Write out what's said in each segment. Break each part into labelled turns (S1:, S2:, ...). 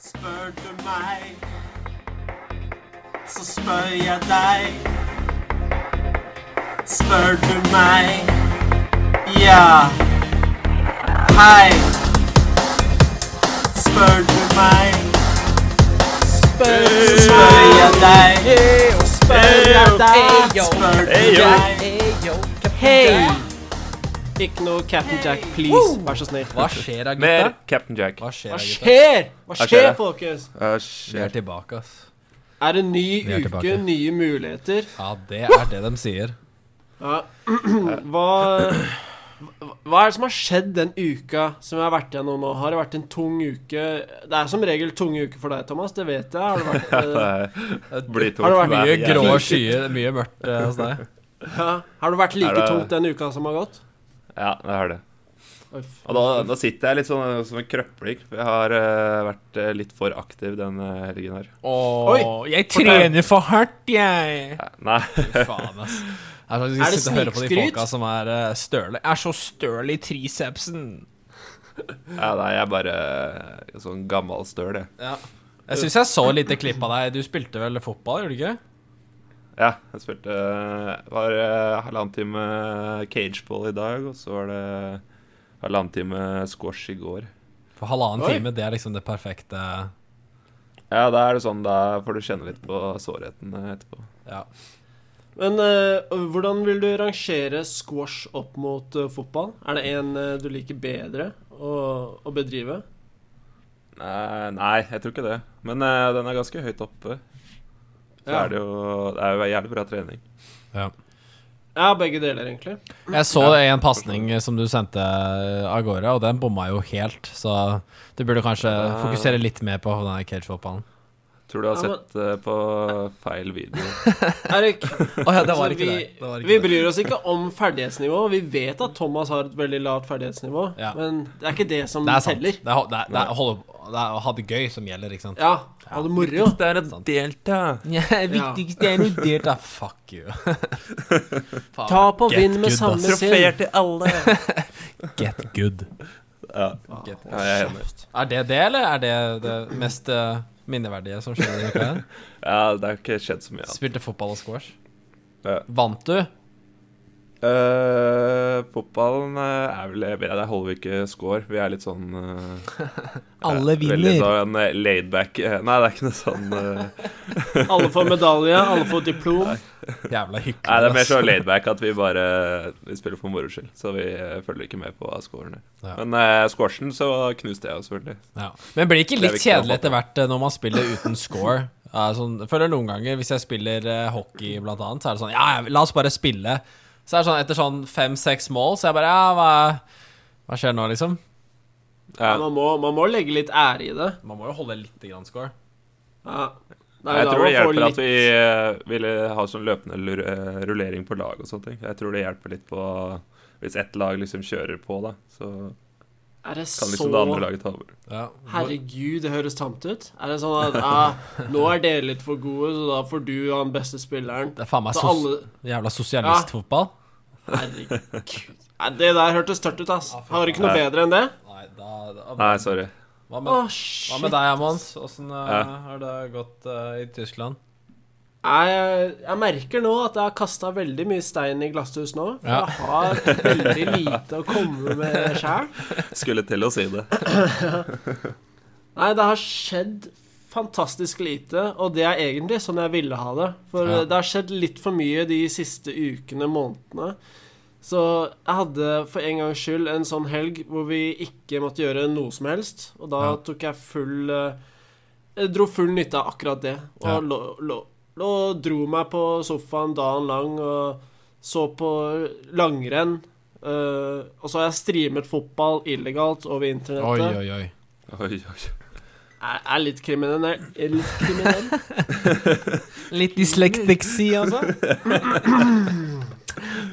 S1: Spør du meg, så spør jeg deg. Spør du meg, ja. Hei. Spør du meg, så spør jeg deg. Spør du
S2: Hey, yo.
S1: meg.
S3: Hei!
S1: Ikke noe Captain Jack, please. Vær så snill.
S3: Hva skjer da,
S2: Mer
S3: gutta?
S2: Captain Jack.
S3: Hva
S1: Hva
S3: skjer da, gutta?
S1: skjer? Hva
S2: skjer
S1: skjer,
S2: det?
S1: folkens?
S2: Uh,
S3: Vi er
S2: shit.
S3: tilbake, ass.
S1: Er det ny
S3: Vi er
S1: uke,
S3: tilbake.
S1: nye muligheter?
S3: Ja, det er det de sier.
S1: Ja. Hva, hva er det som har skjedd den uka som jeg har vært gjennom nå? Har det vært en tung uke? Det er som regel tunge uker for deg, Thomas. Det vet jeg. Har det vært, eh,
S2: Det blir tungt.
S1: Har det vært
S3: Mye
S2: hver
S3: grå
S2: jævla-
S3: skyer, mye mørkt eh, hos deg.
S1: ja. har det vært like
S2: Er det-
S1: tungt den uka som har gått?
S2: Ja, det er det.
S1: Oi, f-
S2: Og da, da sitter jeg litt sånn som en krøpling. for Jeg har eh, vært eh, litt for aktiv den eh, helgen her.
S3: Åh, jeg
S1: trener
S3: for hardt, jeg.
S2: Ja, Nei.
S3: Faen, ass. Jeg er,
S1: Er det
S3: det snikskryt? På de
S1: snikskryt?
S3: folka som er eh, støle. Jeg er så støl i tricepsen.
S2: Ja, nei, jeg er bare eh, sånn gammel støl, jeg.
S3: Jeg syns jeg så lite klipp av deg. Du spilte vel fotball, gjorde du ikke?
S2: Ja, jeg spilte eh, var eh, halvannen time cageball i dag, og så var det halvannen time eh, squash i går.
S3: For halvannen
S1: Oi.
S3: time, det er liksom det perfekte
S2: Ja, da er det sånn, da får du kjenne litt på sårheten eh, etterpå.
S3: Ja.
S1: Men eh, hvordan vil du rangere squash opp mot eh, fotball? Er det en eh, du liker bedre å, å bedrive?
S2: Nei, Eh, nei, jeg tror ikke det. Men eh, den er ganske høyt oppe. Så
S1: Ja.
S2: er det jo Det er jo jævlig bra trening.
S3: ja.
S1: Ja, begge deler, egentlig.
S3: Jeg så en pasning som du sendte eh, av gårde, og den bomma jo helt, så du burde kanskje fokusere litt mer på den cage-fotballen.
S2: Tror du har
S1: Ja, men-
S2: sett eh, på feil video.
S1: Erik,
S3: Å ja, det
S1: så vi, vi bryr oss ikke om ferdighetsnivå. Vi vet at Thomas har et veldig lavt ferdighetsnivå,
S3: Ja.
S1: men det er ikke det som
S3: Det er sant. Det
S1: teller.
S3: er, ho- det er, det er, holde, det er å ha det gøy som gjelder, ikke sant?
S1: Ja, ha det moro.
S2: Det er et delta.
S3: Ja,
S1: viktigste
S3: er noe dyrt, da. Fuck you. Faen,
S1: Ta på
S3: get
S1: vind med
S3: good,
S1: samme
S3: ass.
S1: sinn.
S2: til alle.
S3: Get good.
S2: Ja.
S3: Get
S2: Ja, jeg er enig.
S3: Er det det, eller er det det mest eh, minneverdige som skjedde denne uka? her?
S2: ja, det har ikke skjedd så mye. annet.
S3: Spilte fotball og squash.
S2: Ja.
S3: Vant du?
S2: Eh, fotballen eh, er vel ja, Der holder vi ikke score. Vi er litt sånn eh,
S3: Alle
S2: eh, Veldig sånn eh, laidback eh, Nei, det er ikke noe sånn eh,
S1: Alle får medalje, alle får diplom.
S3: Jævla hyggelig.
S2: Nei, det er mer så laidback at vi bare Vi spiller for moro skyld, så vi eh, følger ikke med på hva scoren er.
S3: Ja.
S2: Men eh, squashen så knuste jeg jo selvfølgelig.
S3: Ja. Men blir det ikke
S2: Det er
S3: litt
S2: viktig å
S3: kjedelig
S2: få
S3: etter hvert eh, når man spiller uten score? Ja, sånn, jeg føler noen ganger Hvis jeg spiller eh, hockey, blant annet, så er det sånn Ja, ja, la oss bare spille. Så er det sånn etter sånn fem-seks mål, så jeg bare Ja, hva, hva skjer nå, liksom?
S2: Ja.
S1: Man må, man må legge litt ære i det.
S3: Man må jo holde litt grann score.
S1: Ja. Det er
S2: Jeg
S1: da man
S2: tror det
S1: får
S2: hjelper at
S1: litt-
S2: vi eh, ville ha sånn løpende lur- eh, rullering på lag og sånne ting. Jeg tror det hjelper litt på hvis ett lag liksom kjører på, da. Så
S1: Er det så
S2: kan liksom det andre laget ta over.
S3: Ja.
S1: Herregud, det høres tamt ut. Er det sånn at ja, nå er dere litt for gode, så da får du ha den beste spilleren?
S3: Det er faen meg
S1: Så
S3: sos
S1: alle
S3: jævla sosialistfotball.
S1: Herregud. Nei, det der hørtes tørt ut, ass. Har ikke noe bedre enn det?
S3: Nei, da, da
S2: Nei, sorry.
S1: Å,
S3: hva, med, hva
S1: shit.
S3: med deg, Mons? Åssen eh,
S2: Ja.
S3: har det gått eh, i Tyskland?
S1: Jeg, jeg merker nå at jeg har kasta veldig mye stein i glasshus nå. For
S3: Ja.
S1: jeg har veldig lite å komme med sjæl.
S2: Skulle til å si det.
S1: Nei, det har skjedd fantastisk lite, og det er egentlig sånn jeg ville ha det. For
S3: Ja.
S1: eh, det har skjedd litt for mye de siste ukene, månedene. Så jeg hadde for en gangs skyld en sånn helg hvor vi ikke måtte gjøre noe som helst, og da
S3: Ja.
S1: tok jeg full eh, Jeg dro full nytte av akkurat det, og
S3: Ja.
S1: lå, lå, lå dro meg på sofaen dagen lang og så på langrenn. eh, og så har jeg streamet fotball illegalt over internettet
S3: oi.
S2: Oi, oi.
S1: er, er litt kriminell. Er litt kriminell.
S3: Litt dyslektiksi, altså.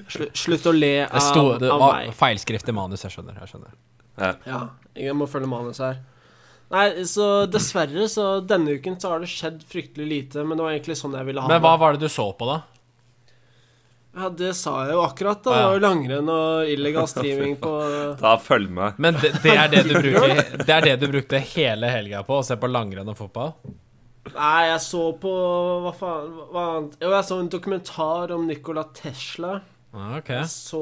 S1: Slutt, slutt å le
S3: Det
S1: av,
S3: sto det
S1: av
S3: var
S1: meg.
S3: feilskrift i manus, jeg skjønner. Jeg skjønner.
S1: Ja, jeg må følge manus her. Nei, så dessverre, så denne uken så har det skjedd fryktelig lite, men det var egentlig sånn jeg ville ha
S3: Men
S1: det.
S3: hva var det du så på, da?
S1: Ja, det sa jeg jo akkurat, da. Det
S3: Ah,
S1: var
S3: ja.
S1: jo langrenn og illegal streaming på
S2: Da følg med.
S3: Men det, det, er det, du bruker, det er det du brukte hele helga på, å se på langrenn og fotball?
S1: Nei, jeg så på Hva faen hva annet? Jo, jeg så en dokumentar om Nikola Tesla.
S3: Ah, Ok.
S1: Så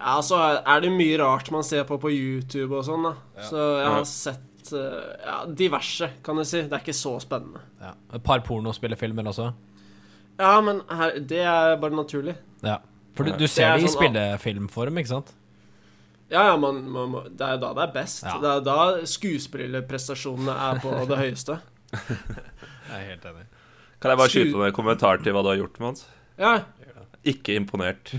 S1: Ja, så er det mye rart man ser på på YouTube og sånn, da. Så jeg
S2: Ja.
S1: har sett eh, ja, diverse, kan du si. Det er ikke så spennende.
S3: Ja. Et par pornospillefilmer også.
S1: Ja, men her, det er bare naturlig.
S3: Ja. For du,
S2: Ja.
S3: du ser
S1: Det er
S3: det i
S1: sånn-
S3: spillefilmform, ikke sant?
S1: Ja, ja, man, man, må- det er jo da det er best.
S3: Ja.
S1: Det er da skuespillerprestasjonene er på det høyeste.
S3: Jeg er helt enig.
S2: Kan jeg bare
S1: Sku-
S2: skyte inn en kommentar til hva du har gjort, Mons?
S1: Ja,
S2: Ikke imponert.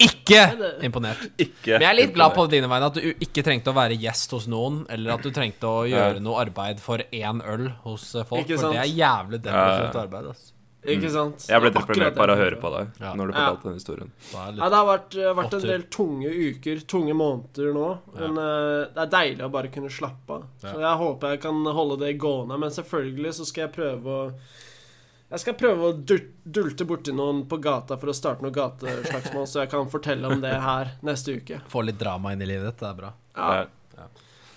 S3: Ikke
S1: det-
S3: imponert.
S2: Ikke
S3: Men jeg er litt glad på dine vegne at du ikke trengte å være gjest hos noen, eller at du trengte å gjøre noe arbeid for én øl hos eh, folk,
S1: Ikke
S3: for
S1: sant?
S3: det er jævlig
S2: Ja,
S3: depressivt
S2: ja.
S3: arbeid. ass.
S1: ikke sant?
S2: Mm. Jeg ble
S1: Det er akkurat
S2: deprimert
S1: det jeg
S2: bare av
S1: tenker
S2: å høre på deg
S3: Ja.
S2: når du
S1: Ja.
S2: fortalte den historien.
S3: Da er det
S1: Nei, det har vært, eh, vært en
S3: Opptur.
S1: del tunge uker, tunge måneder nå. Men eh, det er deilig å bare kunne slappe av.
S3: Ja.
S1: Så jeg håper jeg kan holde det gående. Men selvfølgelig så skal jeg prøve å Jeg skal prøve å dur- dulte borti noen på gata for å starte noe gateslagsmål, så jeg kan fortelle om det her neste uke.
S3: litt- Få litt drama inn i livet ditt, det er bra.
S1: Ja.
S2: Det er-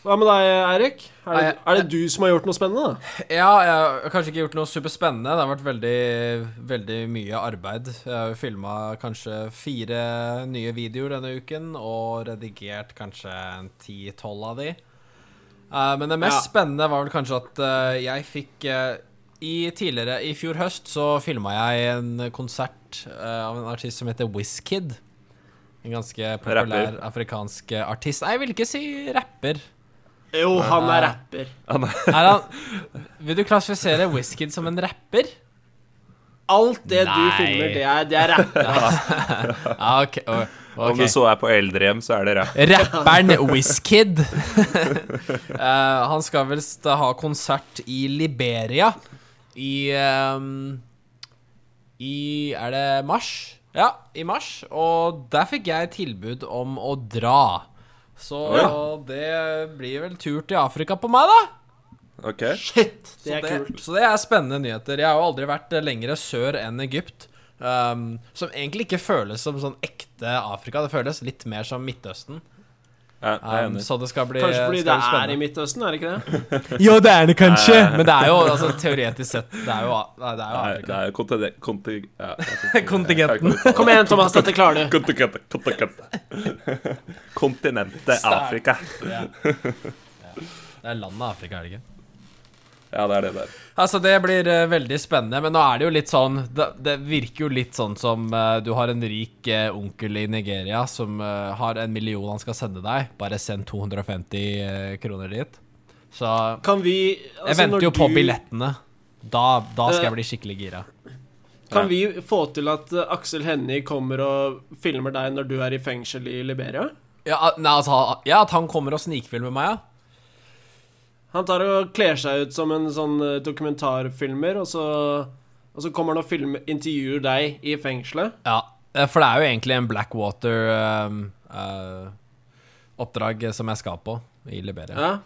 S1: Hva med deg, Eirik? Er, det-
S3: Nei, jeg-
S1: er det du som har gjort noe spennende? da?
S3: Ja, jeg har kanskje ikke gjort noe superspennende. Det har vært veldig, veldig mye arbeid. Jeg har jo filma kanskje fire nye videoer denne uken, og redigert kanskje ti-tolv av de. Eh, men det mest
S1: Ja.
S3: spennende var vel kanskje at eh, jeg fikk eh, i tidligere, I fjor høst så filma jeg en konsert eh, av en artist som heter Wizkid. En ganske populær
S2: Rapper.
S3: afrikansk eh, artist. Nei, jeg vil ikke si rapper.
S1: Jo, han er
S3: Ja.
S1: rapper.
S3: Er han Vil du klassifisere Wizkid som en rapper?
S1: Alt det du
S3: Nei.
S1: filmer, det er, det er rapper.
S3: Ja, Ah, ok. o-
S2: Om
S3: ok.
S2: du så er på eldrehjem, så er det rap.
S3: Rapperen Wizkid. Eh, han skal vel st- ha konsert i Liberia i ehm, I Er det mars? Ja, i mars. Og der fikk jeg tilbud om å dra. Så det blir vel tur til Afrika på meg, da.
S2: Ok?
S1: Shit, det
S3: Så
S1: er kult.
S3: Så det er spennende nyheter. Jeg har jo aldri vært eh, lengre sør enn Egypt. ehm, som egentlig ikke føles som sånn ekte Afrika. Det føles litt mer som Midtøsten.
S2: Ja, jeg er
S3: Um,
S2: enig.
S3: så det skal bli
S1: Kanskje fordi det
S3: skal bli
S1: er i
S3: spennende.
S1: Midtøsten, er det ikke det?
S3: Jo, det er det kanskje! Men det er jo altså, teoretisk sett Det er jo, nei, det er jo
S2: Nei,
S3: Afrika.
S2: det er konti- konti- ja, jeg-
S3: Kontingenten.
S2: jeg kan ikke uttale
S1: Kom igjen, Thomas, dette klarer du.
S2: det. Kontingenten, kontingenten. Kontinentet Afrika.
S3: Ja. Ja. Det er landet Afrika, er det ikke?
S2: Ja, det er det der.
S3: Altså, det blir eh, veldig spennende, men nå er det jo litt sånn Det, det virker jo litt sånn som eh, du har en rik eh, onkel i Nigeria som eh, har en million han skal sende deg. Bare send 250 eh, kroner dit. Så
S1: Kan vi
S3: Jeg
S1: altså, når
S3: venter jo på
S1: du-
S3: billettene. Da, da skal
S1: Eh,
S3: jeg bli skikkelig gira.
S1: Kan vi få til at eh, Aksel Hennie kommer og filmer deg når du er i fengsel i Liberia?
S3: Ja, ah, nei, altså, ja, at han kommer og snikfilmer meg, ja.
S1: Han tar og kler seg ut som en sånn eh, dokumentarfilmer, og så, og så kommer han og filmer, intervjuer deg i fengselet.
S3: Ja, eh, for det er jo egentlig en Blackwater-oppdrag som jeg skal på i Liberia.
S1: Ja.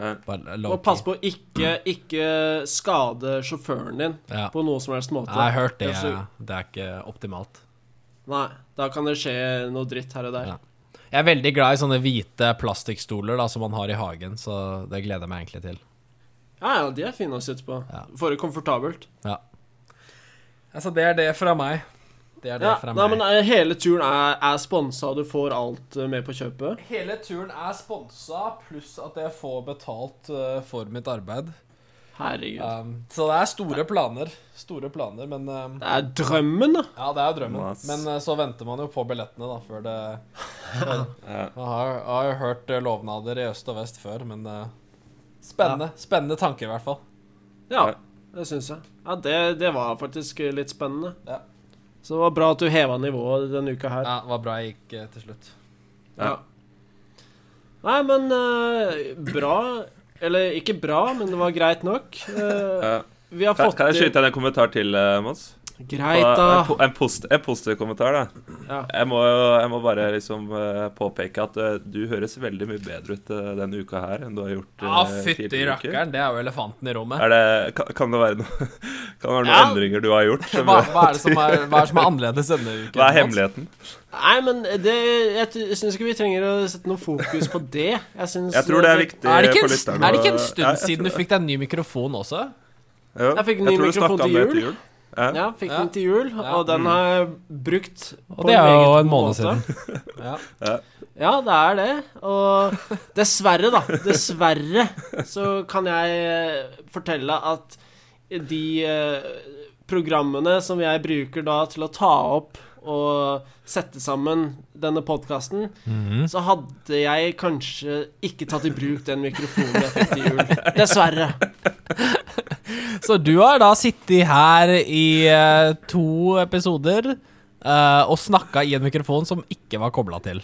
S2: Ja.
S3: Bare
S1: Og
S3: low-key.
S1: pass på å ikke, ikke skade sjåføren din
S3: Ja.
S1: på noe som helst måte.
S3: Jeg har hørt det.
S1: Ja, så-
S3: Det er ikke optimalt.
S1: Nei, da kan det skje noe dritt her og der.
S3: Ja. Jeg er veldig glad i sånne hvite plastikkstoler da, som man har i hagen, så det gleder jeg meg egentlig til.
S1: Ja, ja, de er fine å sitte på.
S3: Ja.
S1: Får det komfortabelt.
S3: Ja. Altså, det er det fra meg. Det er det
S1: Ja,
S3: fra
S1: nei,
S3: meg.
S1: men eh, hele turen er, er sponsa, og du får alt eh, med på kjøpet.
S3: Hele turen er sponsa, pluss at jeg får betalt eh, for mitt arbeid.
S1: Herregud.
S3: Um, så det er store planer. Store planer, men um,
S1: Det er drømmen, da.
S3: Ja, det er jo drømmen.
S2: Nice.
S3: Men eh, så venter man jo på billettene, da, før det
S2: Ja.
S3: Man har, har jo hørt eh, lovnader i øst og vest før, men eh, Spennende. Spennende tanker, i hvert fall.
S1: Ja,
S2: Ja.
S1: det syns jeg. Ja, det, det var faktisk eh, litt spennende.
S3: Ja.
S1: Så det var bra at du heva nivået denne uka her.
S3: Ja, det var bra jeg gikk eh, til slutt.
S2: Ja.
S1: Nei, men eh, bra Eller ikke bra, men det var greit nok. Eh,
S2: Ja.
S1: vi har
S2: Kan,
S1: fått
S2: kan jeg skyte inn en kommentar til, eh, Mons?
S1: Greit,
S2: En,
S1: da.
S2: po- en, post, en positiv kommentar, da.
S1: Ja.
S2: Jeg må, jo- jeg må bare liksom eh, påpeke at eh, du høres veldig mye bedre ut eh, denne uka her enn du har gjort eh,
S3: Ja, fytti
S2: tidligere uker.
S3: rakkeren, det er jo elefanten i rommet.
S2: Er det, kan, kan det være noe Kan være noen
S1: Ja.
S2: endringer du har gjort. som
S3: Hva,
S2: gjør
S3: hva, er
S2: at
S3: det som er, hva er det som er annerledes denne uken?
S2: Hva er
S3: Mats?
S2: hemmeligheten?
S1: Nei, men det, jeg t- jeg syns ikke vi trenger å sette noe fokus på det. Jeg, synes,
S2: Jeg tror det er viktig
S3: Er det ikke
S2: for
S3: en,
S2: lytterne.
S3: er det ikke en
S2: Ja, jeg
S3: stund siden du
S2: tror-
S3: fikk deg en ny mikrofon også?
S2: Jo,
S1: Jeg fikk en ny
S2: tror du
S1: mikrofon
S2: snakket om
S1: til
S2: det
S1: jul.
S2: Ja.
S1: Ja, fikk
S3: Ja.
S1: den til jul,
S3: Ja.
S1: og den har jeg brukt. på
S3: Og det er
S1: meget
S3: jo
S1: god
S3: en måned
S1: måte.
S3: siden. Ja.
S1: Ja, det er det. Og dessverre, da. Dessverre så kan jeg eh, fortelle at de eh, programmene som jeg bruker da til å ta opp og sette sammen denne podkasten,
S3: Mhm.
S1: så hadde jeg kanskje ikke tatt i bruk den mikrofonen jeg fikk til jul. Dessverre.
S3: Så du har da sittet her i eh, to episoder eh, og snakka i en mikrofon som ikke var kobla til.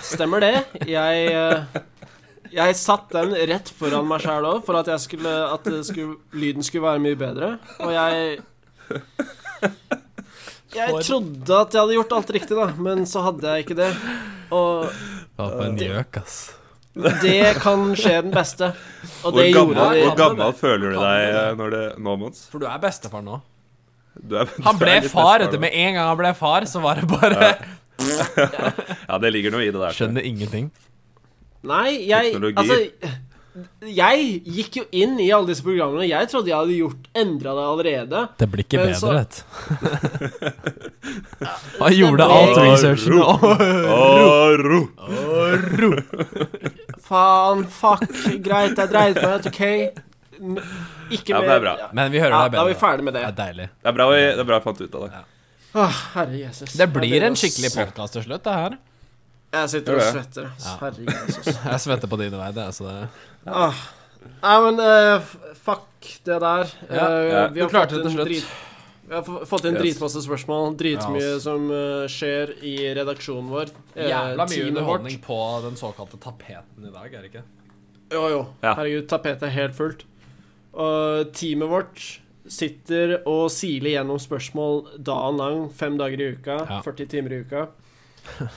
S1: Stemmer det. Jeg eh, jeg satt den rett foran meg sjæl òg, for at, jeg skulle, at det skulle, lyden skulle være mye bedre. Og jeg Jeg
S3: For-
S1: trodde at jeg hadde gjort alt riktig, da, men så hadde jeg ikke det. Og
S3: Hva på en gjøk, ass.
S1: det kan skje den beste. Og det
S2: Hvor
S1: gjorde
S2: gammel,
S1: det.
S2: hvor gammel føler du
S3: Kan det
S2: deg
S3: det?
S2: eh, når det, nå, Mons?
S3: For du er bestefar nå.
S2: Du er-
S3: Han
S2: du er
S3: ble
S2: litt bestefar
S3: far, vet du.
S2: nå.
S3: Med en gang han ble far, så var det bare
S2: Ja, det ligger noe i det der. tror jeg.
S3: Skjønner ingenting.
S1: Nei, jeg
S2: Teknologi.
S1: Altså, jeg gikk jo inn i alle disse programmene. Jeg trodde jeg hadde gjort endra det allerede.
S3: Det blir ikke
S1: Men
S3: bedre,
S1: så-
S3: vet du. Han gjorde alt
S1: Aro.
S3: researchen og
S2: Å, ro.
S1: Faen, fuck, greit, jeg dreide meg, OK? N- Ikke
S2: Ja,
S1: mer.
S2: det er bra.
S3: Men vi hører
S1: Ja,
S3: deg bedre.
S1: da er vi ferdig med det.
S3: Det er deilig.
S2: Det er bra vi det er bra vi fant ut av det.
S1: Åh, herre Jesus.
S3: Det
S1: Jeg
S3: blir
S1: begynner
S3: en
S1: å
S3: skikkelig
S1: s-
S3: podkast til slutt, det her.
S1: Jeg sitter
S2: Gjør
S1: og
S2: det.
S1: svetter. ass. Herre Jesus.
S3: Jeg svetter på dine veier, så det altså.
S1: Åh. Nei, men eh, f- fuck det der. Eh,
S3: Ja,
S2: ja.
S1: vi har
S3: Du klarte
S1: fått
S3: det til
S1: en
S3: slutt.
S1: vi har f- fått inn
S2: Yes.
S1: dritmasse spørsmål. Dritmye
S3: Ja, ass.
S1: som eh, skjer i redaksjonen vår. eh,
S3: Jævla mye
S1: teamet vårt.
S3: underholdning på den såkalte tapeten i dag, er det ikke?
S1: Jo, jo.
S2: Ja.
S1: Herregud, tapetet er helt fullt. Og teamet vårt sitter og siler gjennom spørsmål dagen lang, fem dager i uka,
S3: Ja.
S1: 40 timer i uka.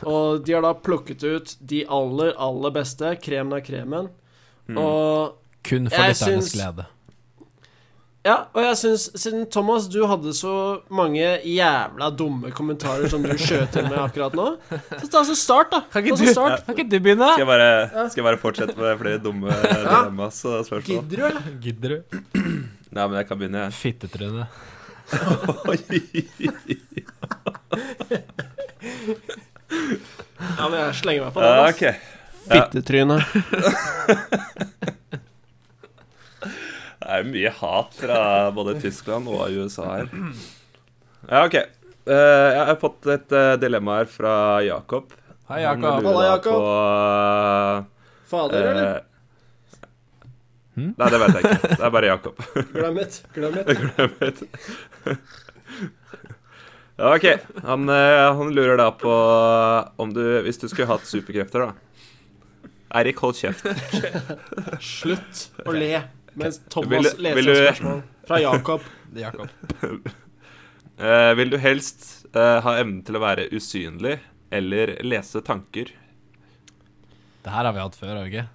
S1: Og de har da plukket ut de aller, aller beste, kremen av kremen.
S2: Mm.
S1: Og
S3: Kun for
S1: Jeg
S3: lytternes
S1: syns-
S3: glede.
S1: ja, og jeg syns, siden Thomas, du hadde så mange jævla dumme kommentarer som du skjøt til med akkurat nå, så ta så start, da.
S3: Kan
S1: Ta
S3: ikke,
S1: så
S3: du,
S1: start.
S3: kan ikke du begynne?
S2: Skal jeg bare, skal jeg bare fortsette med flere dumme dilemmas og spørsmål?
S1: Gidder du, eller?
S3: Gidder du?
S2: Nei, men jeg kan begynne, jeg.
S3: Fittetryne.
S1: Ja, men jeg slenger meg på den.
S2: Ja,
S1: ass.
S2: ok.
S1: Fittetryne.
S2: Det er mye hat fra både Tyskland og USA her. Ja, OK. Eh, jeg har fått et eh, dilemma her fra Jakob.
S3: Hei,
S2: Han lurer
S3: Jakob.
S1: Halla,
S2: da
S1: Jakob.
S2: På,
S1: Fader,
S2: eh,
S1: eller?
S3: Hmm?
S2: Nei, det vet jeg ikke. Det er bare Jakob.
S1: Glem det. Glem det.
S2: Glem det. Ja, OK. Han, eh, han lurer da på eh, om du Hvis du skulle hatt superkrefter, da. Eirik, hold kjeft.
S1: Slutt å le mens
S2: Vil-
S1: Thomas leser
S2: vil du-
S1: et spørsmål fra Jakob.
S3: Jakob.
S2: Eh, vil du helst eh, ha evnen til å være usynlig eller lese tanker?
S3: Det her har vi hatt før, har vi ikke?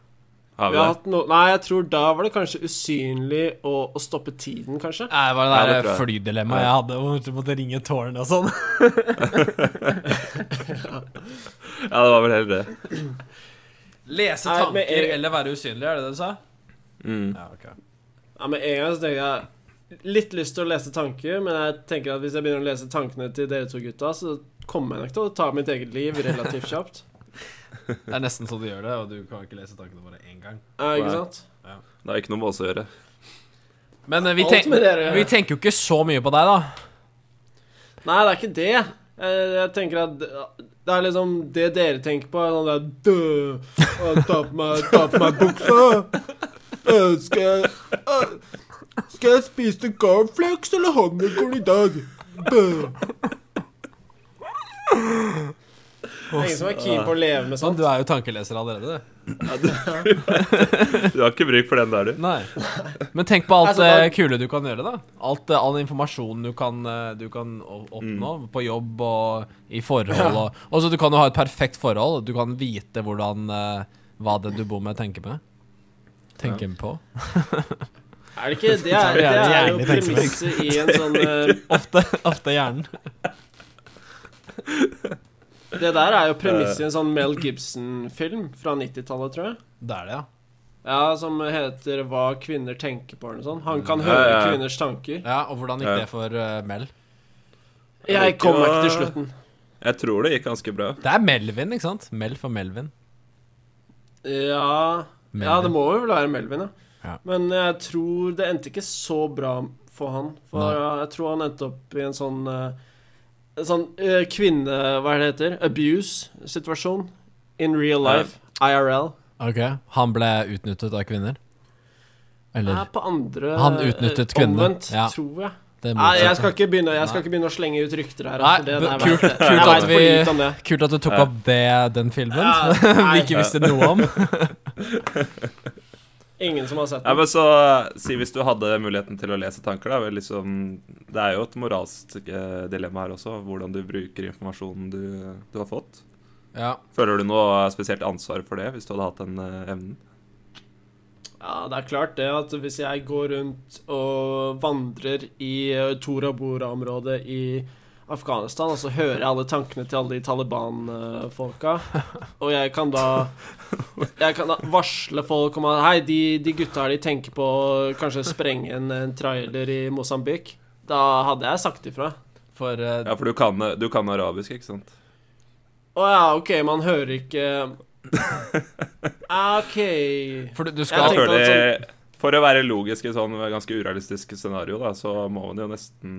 S2: Har
S1: Vi
S2: vi
S1: har
S2: det?
S1: hatt no Nei, jeg tror da var det kanskje usynlig å, å stoppe tiden, kanskje.
S3: Nei, det var
S2: Ja,
S3: det
S2: det
S3: der
S2: tror jeg.
S3: flydilemmaet jeg hadde, hvor du måtte ringe tårnet og sånn.
S2: Ja, det var vel heller det.
S3: Lese
S1: Nei, men
S3: tanker
S1: jeg-
S3: eller være usynlig, er det det du sa?
S2: Mm.
S3: Ja, ok.
S1: Ja, Med en gang så tenker jeg litt lyst til å lese tanker, men jeg tenker at hvis jeg begynner å lese tankene til dere to gutta, så kommer jeg nok til å ta mitt eget liv relativt kjapt.
S3: Det er nesten så du gjør det, og du kan ikke lese tankene våre én gang.
S1: Ja, ikke
S2: Nei.
S1: sant?
S2: Det har ikke noe med oss å gjøre.
S3: Men eh, vi,
S1: Alt
S3: tenk,
S1: med dere.
S3: vi tenker jo ikke så mye på deg, da.
S1: Nei, det er ikke det. Jeg, jeg tenker at det er liksom det dere tenker på. er Sånn der Dø! Å, Ta på meg, ta på meg buksa! Ø, Skal jeg ø, Skal jeg spise cornflakes eller honningkorn i dag? Dø! Ingen som er keen på å leve med
S3: Sånn,
S1: sånt.
S3: du er jo tankeleser allerede, du.
S2: Du har ikke bruk for den der, du.
S3: Nei. Men tenk på alt
S1: Altså, da-
S3: eh, kule du kan gjøre, da. Alt, eh, all informasjonen du kan, eh, du kan o- oppnå på jobb og i forhold. Og, og så du kan jo ha et perfekt forhold. Du kan vite hvordan eh, hva den du bor med, tenker med. Tenker på.
S1: Er det ikke Det er, det er jo premisset i en sånn eh,
S3: Ofte, ofte hjernen.
S1: Det der er jo premisset i en sånn Mel Gibson-film fra 90-tallet, tror jeg.
S3: Det er det, ja.
S1: Ja, Som heter 'Hva kvinner tenker på'. eller noe sånt. Han kan
S2: Ja,
S1: høre
S2: ja, ja.
S1: kvinners tanker.
S3: ja. Og hvordan gikk
S2: Ja.
S3: det for eh, Mel?
S1: Jeg kom meg ikke til slutten.
S2: Jeg tror det gikk ganske bra.
S3: Det er Melvin, ikke sant? Mel for Melvin.
S1: Ja Ja, det må jo vel være Melvin, ja.
S3: Ja.
S1: Men jeg tror det endte ikke så bra for han. For
S3: Nei.
S1: jeg tror han endte opp i en sånn eh, en sånn eh, kvinne... Hva er det heter? Abuse-situasjon. In real life. IRL.
S3: Ok, Han ble utnyttet av kvinner? Eller
S1: Nei, på andre
S3: Han utnyttet
S1: eh,
S3: kvinnen.
S1: Omvendt,
S3: Ja.
S1: tror jeg.
S3: det
S1: Nei, jeg
S3: motsatte?
S1: skal ikke begynne, jeg
S3: Nei.
S1: skal ikke begynne å slenge ut rykter her.
S3: Nei,
S1: for det,
S3: men
S1: det er
S3: kult-
S1: verdt det.
S3: kult
S1: Jeg vet
S3: at vi-
S1: for lite om det.
S3: Kult at du tok
S2: Ja.
S3: opp det, den filmen
S1: Ja,
S3: vi
S1: nei.
S3: ikke visste noe om.
S1: Ingen som har sett
S2: Ja,
S1: den.
S2: men så eh, Si hvis du hadde muligheten til å lese tanker, da. Vel, liksom, det er jo et moralsk eh, dilemma her også, hvordan du bruker informasjonen du, du har fått.
S3: Ja,
S2: Føler du noe spesielt ansvar for det, hvis du hadde hatt den eh, evnen?
S1: Ja, det er klart det at hvis jeg går rundt og vandrer i eh, Tora Bora-området i Afghanistan, og så hører jeg alle tankene til alle de Taliban-folka, og jeg kan da Jeg kan da varsle folk om at Hei, de, de gutta her, de tenker på å kanskje sprenge en, en trailer i Mosambik. Da hadde jeg sagt ifra.
S3: for eh,
S2: Ja, for du kan, eh, du kan arabisk, ikke sant?
S1: Å ja, OK, man hører ikke Ah, OK.
S3: For du, du
S1: Jeg sånn
S2: Jeg
S3: skal
S1: tenkte
S2: føler, For å være logisk i sånn ganske urealistisk scenario, da, så må man jo nesten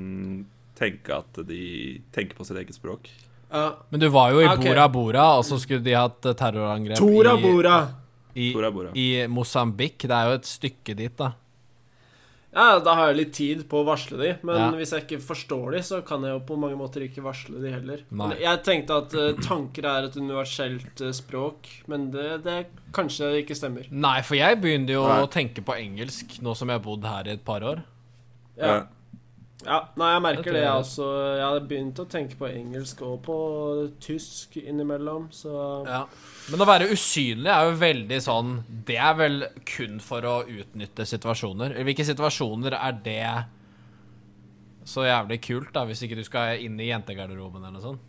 S2: tenke at de tenker på sitt eget språk.
S1: Ja.
S3: Men du var jo i
S1: Ah, ok.
S3: Bora Bora, og så skulle de hatt eh, terrorangrep
S1: Tora
S3: i-
S1: Bora.
S3: i,
S2: Tora Bora.
S3: i Mosambik. Det er jo et stykke dit, da.
S1: Ja, da har jeg litt tid på å varsle de, men
S3: Ja.
S1: hvis jeg ikke forstår de, så kan jeg jo på mange måter ikke varsle de heller.
S3: Nei.
S1: Men Jeg tenkte at eh, tanker er et universelt eh, språk, men det, det kanskje ikke stemmer.
S3: Nei, for jeg begynte jo
S2: Nei.
S3: å tenke på engelsk nå som jeg har bodd her i et par år.
S1: Ja.
S2: Ja.
S1: ja. Nei, jeg
S3: Det
S1: merker
S3: tror
S1: det,
S3: jeg
S1: jeg
S3: er.
S1: også. Jeg hadde begynt å tenke på engelsk og på tysk innimellom, så
S3: Ja. Men å være usynlig er jo veldig sånn Det er vel kun for å utnytte situasjoner. I Hvilke situasjoner er det så jævlig kult, da, hvis ikke du skal inn i jentegarderoben eller noe sånt?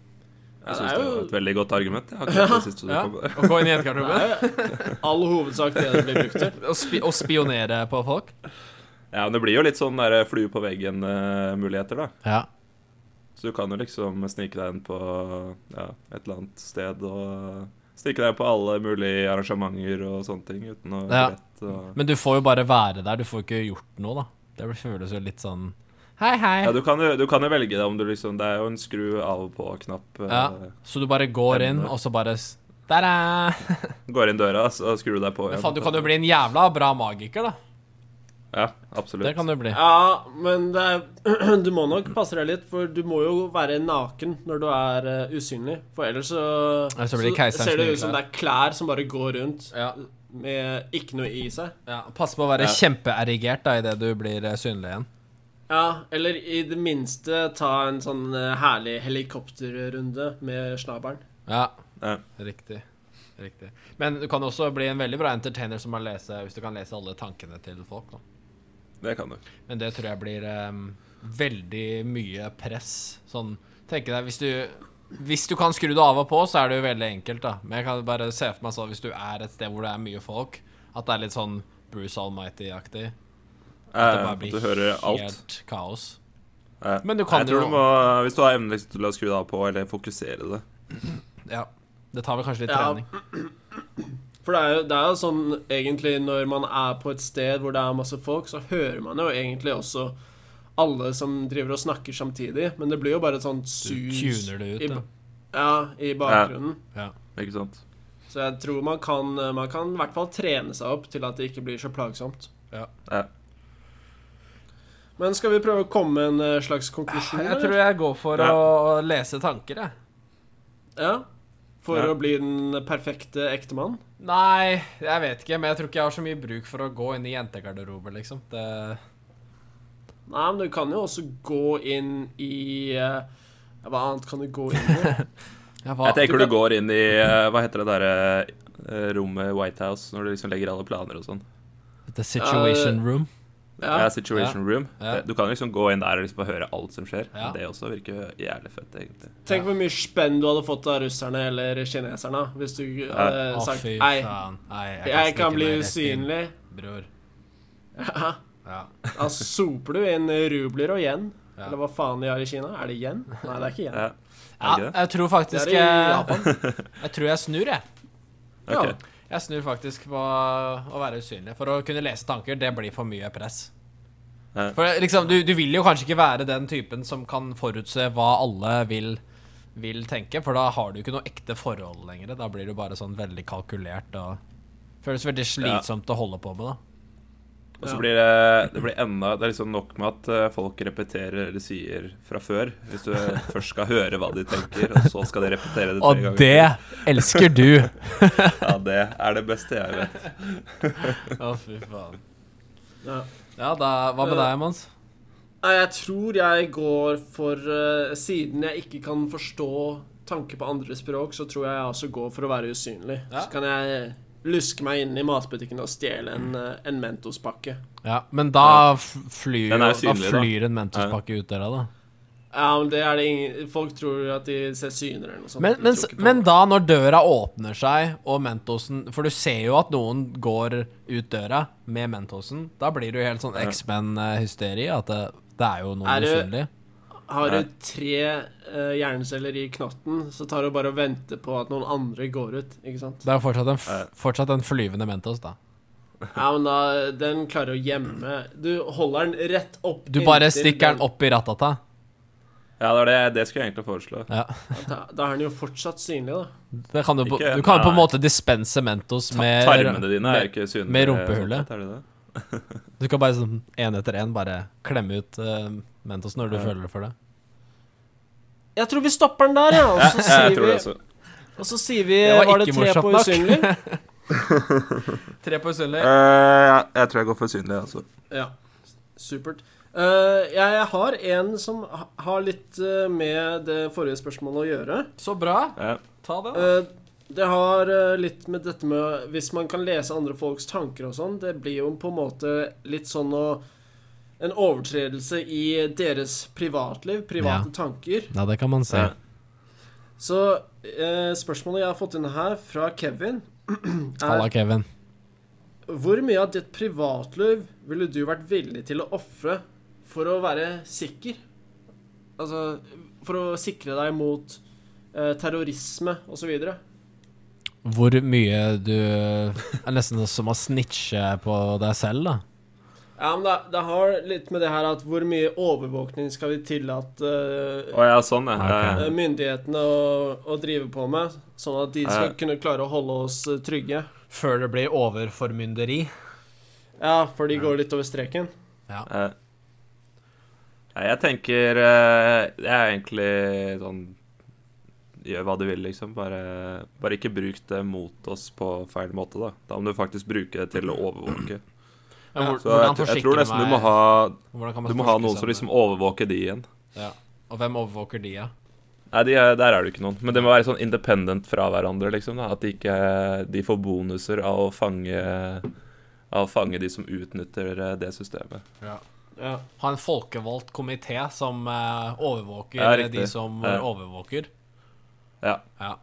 S2: Jeg
S1: det
S2: syns
S1: er
S2: det
S1: jo-
S2: var et veldig godt argument. Jeg har ikke hørt det siste du
S3: Ja,
S2: kom med.
S3: Å gå inn i
S1: det
S3: jentegarderoben?
S1: er jo all hovedsak det det blir brukt til.
S3: Og, spi og spionere på folk?
S2: Ja, men det blir jo litt sånn der flue på veggen-muligheter, da.
S3: Ja.
S2: Så du kan jo liksom snike deg inn på ja, et eller annet sted og Snike deg inn på alle mulige arrangementer og sånne ting uten å
S3: Ja.
S2: rett og
S3: Men du får jo bare være der, du får ikke gjort noe, da. Det føles jo litt sånn Hei, hei.
S2: Ja, du kan, jo, du kan jo velge det om du liksom Det er jo en skru av og på-knapp. eh,
S3: Ja, så du bare går inn, og så bare s- Der er
S2: Går inn døra, så skrur du deg på
S3: Men
S2: igjen.
S3: faen, du kan jo bli en jævla bra magiker, da.
S2: Ja, absolutt.
S3: Det kan du bli.
S1: Ja, men det er, du må nok passe deg litt, for du må jo være naken når du er eh, usynlig. For ellers så,
S3: Ja, så blir det keiserens
S1: ser det
S3: nye
S1: ut som
S3: klær.
S1: det er klær som bare går rundt
S3: Ja.
S1: med ikke noe i seg.
S3: Ja, pass på å være
S2: Ja.
S3: kjempeerigert da, idet du blir eh, synlig igjen.
S1: Ja, eller i det minste ta en sånn eh, herlig helikopterrunde med snabelen.
S3: Ja,
S2: Ja.
S3: riktig. Riktig. Men du kan også bli en veldig bra entertainer som kan lese, hvis du kan lese alle tankene til folk. Da.
S2: Det kan du.
S3: Men det tror jeg blir em, veldig mye press. Sånn, tenker deg, hvis du, hvis du kan skru det av og på, så er det jo veldig enkelt, da. Men jeg kan bare se for meg sånn, hvis du er et sted hvor det er mye folk, at det er litt sånn Bruce Almighty-aktig. At det
S2: Eh,
S3: bare
S2: at
S3: blir
S2: du hører alt.
S3: helt kaos.
S2: Eh,
S3: Men du kan
S2: jeg tror
S3: jo-
S2: du må, Hvis du har evnen liksom til å skru deg av på eller fokusere det
S3: Ja. Det tar vel kanskje litt
S1: Ja.
S3: trening.
S1: For det er, jo, det er jo sånn egentlig når man er på et sted hvor det er masse folk, så hører man jo egentlig også alle som driver og snakker samtidig, men det blir jo bare et sånt
S3: Du
S1: sus
S3: tuner det ut,
S1: i,
S3: da.
S1: ja, i bakgrunnen.
S2: Ikke sant?
S1: Så jeg tror man kan, man kan i hvert fall trene seg opp til at det ikke blir så plagsomt.
S3: Ja.
S2: Ja.
S1: Men skal vi prøve å komme med en eh, slags konklusjon?
S3: Ah, Jeg
S1: eller?
S3: tror jeg går for
S2: Ja.
S3: å lese tanker, jeg.
S1: Ja. For
S2: Ja.
S1: å bli den perfekte ektemann?
S3: Nei, jeg vet ikke, men jeg tror ikke jeg har så mye bruk for å gå inn i jentegarderober, liksom. Det,
S1: Nei, men du kan jo også gå inn i eh, Hva annet kan du gå inn i?
S3: jeg
S2: Jeg tenker du går inn i eh, Hva heter det derre eh, rommet i White House når du liksom legger alle planer og sånn?
S3: The situation room.
S1: Ja.
S2: eh, Situation Room.
S3: Ja.
S2: Du kan liksom gå inn der og liksom bare høre alt som skjer.
S3: Ja.
S2: Det også virker jævlig fett, egentlig.
S1: Tenk hvor mye spenn du hadde fått av russerne eller kineserne hvis du hadde
S3: Å,
S1: sagt
S3: fy
S1: Nei,
S3: faen. Nei,
S1: jeg
S3: stikke
S1: kan bli
S3: meg rett inn,
S1: usynlig.
S3: Bror.
S1: Ja,
S3: Ja.
S1: Da soper du inn rubler og yen.
S3: Ja.
S1: Eller hva faen de har i Kina? Er det yen? Nei, det er ikke yen.
S2: Ja.
S3: ja,
S2: Er det ikke det?
S3: jeg tror
S1: Det
S3: faktisk
S1: er i
S3: jeg,
S1: Japan.
S3: jeg tror jeg snur, jeg.
S1: Ja.
S2: Ok.
S3: Jeg snur faktisk på å være usynlig. For å kunne lese tanker, det blir for mye press.
S2: Ja.
S3: For liksom, du, du vil jo kanskje ikke være den typen som kan forutse hva alle vil, vil tenke, for da har du ikke noe ekte forhold lenger. Da blir du bare sånn veldig kalkulert og Føles veldig slitsomt å holde på med, da.
S2: Og så blir det, det blir enda Det er liksom nok med at eh, folk repeterer det de sier fra før. Hvis du eh, først skal høre hva de tenker, og så skal de repetere det tre
S3: Og
S2: ganger.
S3: det elsker du!
S2: Ja, det er det beste jeg vet.
S3: Å, fy faen.
S1: Ja.
S3: Ja, da, hva med deg, Mons?
S1: Nei, jeg tror jeg går for eh, Siden jeg ikke kan forstå tanker på andre språk, så tror jeg jeg også går for å være usynlig.
S3: Ja.
S1: Så kan jeg luske meg inn i matbutikken og stjele en, eh, en Mentos-pakke.
S3: Ja, men da f- flyr,
S2: Den er
S3: jo-
S2: synlig,
S3: da
S2: da.
S3: flyr en Mentos-pakke ut der, da.
S1: Ja, men det er det ingen Folk tror at de ser syner eller noe sånt.
S3: Men,
S1: De
S3: men,
S1: tror ikke på
S3: men
S1: det.
S3: da, når døra åpner seg, og Mentosen For du ser jo at noen går ut døra med Mentosen. Da blir du helt sånn X-Men-hysteri. At det, det er jo
S1: Er
S3: noen
S1: det-
S3: usynlig.
S1: Har
S2: Nei.
S1: du tre eh, hjerneceller i knotten, så tar du bare og venter på at noen andre går ut, ikke sant?
S3: Det er jo fortsatt en, f
S2: Ja.
S3: fortsatt en flyvende Mentos, da.
S1: Ja, men da Den klarer å gjemme Du holder den rett opp
S3: Du bare
S1: inntil
S3: stikker den opp i rattata.
S2: Ja, det, var det, det skulle jeg egentlig foreslå.
S3: Ja.
S1: Da, da er den jo fortsatt synlig, da.
S3: Det kan du, på-
S2: Ikke-
S3: du kan jo på en
S2: nei.
S3: måte dispense Mentos med
S2: Tarmene dine er
S3: med,
S2: ikke synlige.
S3: med rumpehullet.
S2: Er det det?
S3: Du kan bare sånn én etter én bare klemme ut eh, Mentos når du føler for det.
S1: Jeg tror vi stopper den der, ja. Og så
S2: Ja, jeg
S1: sier
S2: tror det
S1: vi,
S2: også.
S1: og så sier vi
S3: Det var
S1: Var det tre
S3: ikke morsomt
S1: på
S3: nok.
S1: usynlig?
S3: Tre på usynlig.
S2: Eh, jeg tror jeg går for synlig, altså.
S1: Ja. Supert. Eh, jeg, jeg har en som ha- har litt eh, med det forrige spørsmålet å gjøre.
S3: Så bra.
S2: Ja.
S3: Ta det,
S1: Eh, det har eh, litt med dette med Hvis man kan lese andre folks tanker og sånn, det blir jo på en måte litt sånn å En overtredelse i deres privatliv, private tanker.
S3: Ja, det kan man se.
S2: Ja.
S1: Så eh, spørsmålet jeg har fått inn her, fra Kevin, er
S3: Halla, Kevin.
S1: Hvor mye av ditt privatliv ville du vært villig til å ofre for å være sikker? Altså for å sikre deg mot eh, terrorisme og så videre.
S3: Hvor mye du er nesten som å snitche på deg selv, da.
S1: Ja, men det, det har litt med det her at hvor mye overvåkning skal vi tillate eh,
S2: Å ja, sånn, ja. ja.
S3: Ok.
S2: ja.
S1: eh, myndighetene å, å drive på med, sånn at de skal
S2: Eh.
S1: kunne klare å holde oss eh, trygge?
S3: Før det blir overformynderi.
S1: Ja, for de går litt over streken.
S2: Eh, Nei, jeg tenker eh, Jeg er egentlig sånn Gjør hva du vil, liksom. Bare, bare ikke bruk det mot oss på feil måte, da. Da må du faktisk bruke det til å overvåke.
S3: Men hvor,
S2: Så
S3: hvordan
S2: jeg, jeg
S3: forsikrer
S2: tror
S3: du
S2: nesten du
S3: meg-
S2: må ha,
S3: hvordan kan man
S2: du må ha
S3: forsikre
S2: noen
S3: seg
S2: som
S3: med-
S2: liksom overvåker de igjen.
S3: ja. Og hvem overvåker de, da?
S2: Nei, de er, Der er det jo ikke noen. Men det må være sånn independent fra hverandre. liksom da. At de ikke de får bonuser av å fange Av å fange de som utnytter eh, det systemet.
S1: Ja.
S3: Ha en folkevalgt komité som eh, overvåker
S2: Ja, riktig.
S3: de som eh,
S2: Ja.
S3: overvåker.
S2: Ja.
S3: Ja.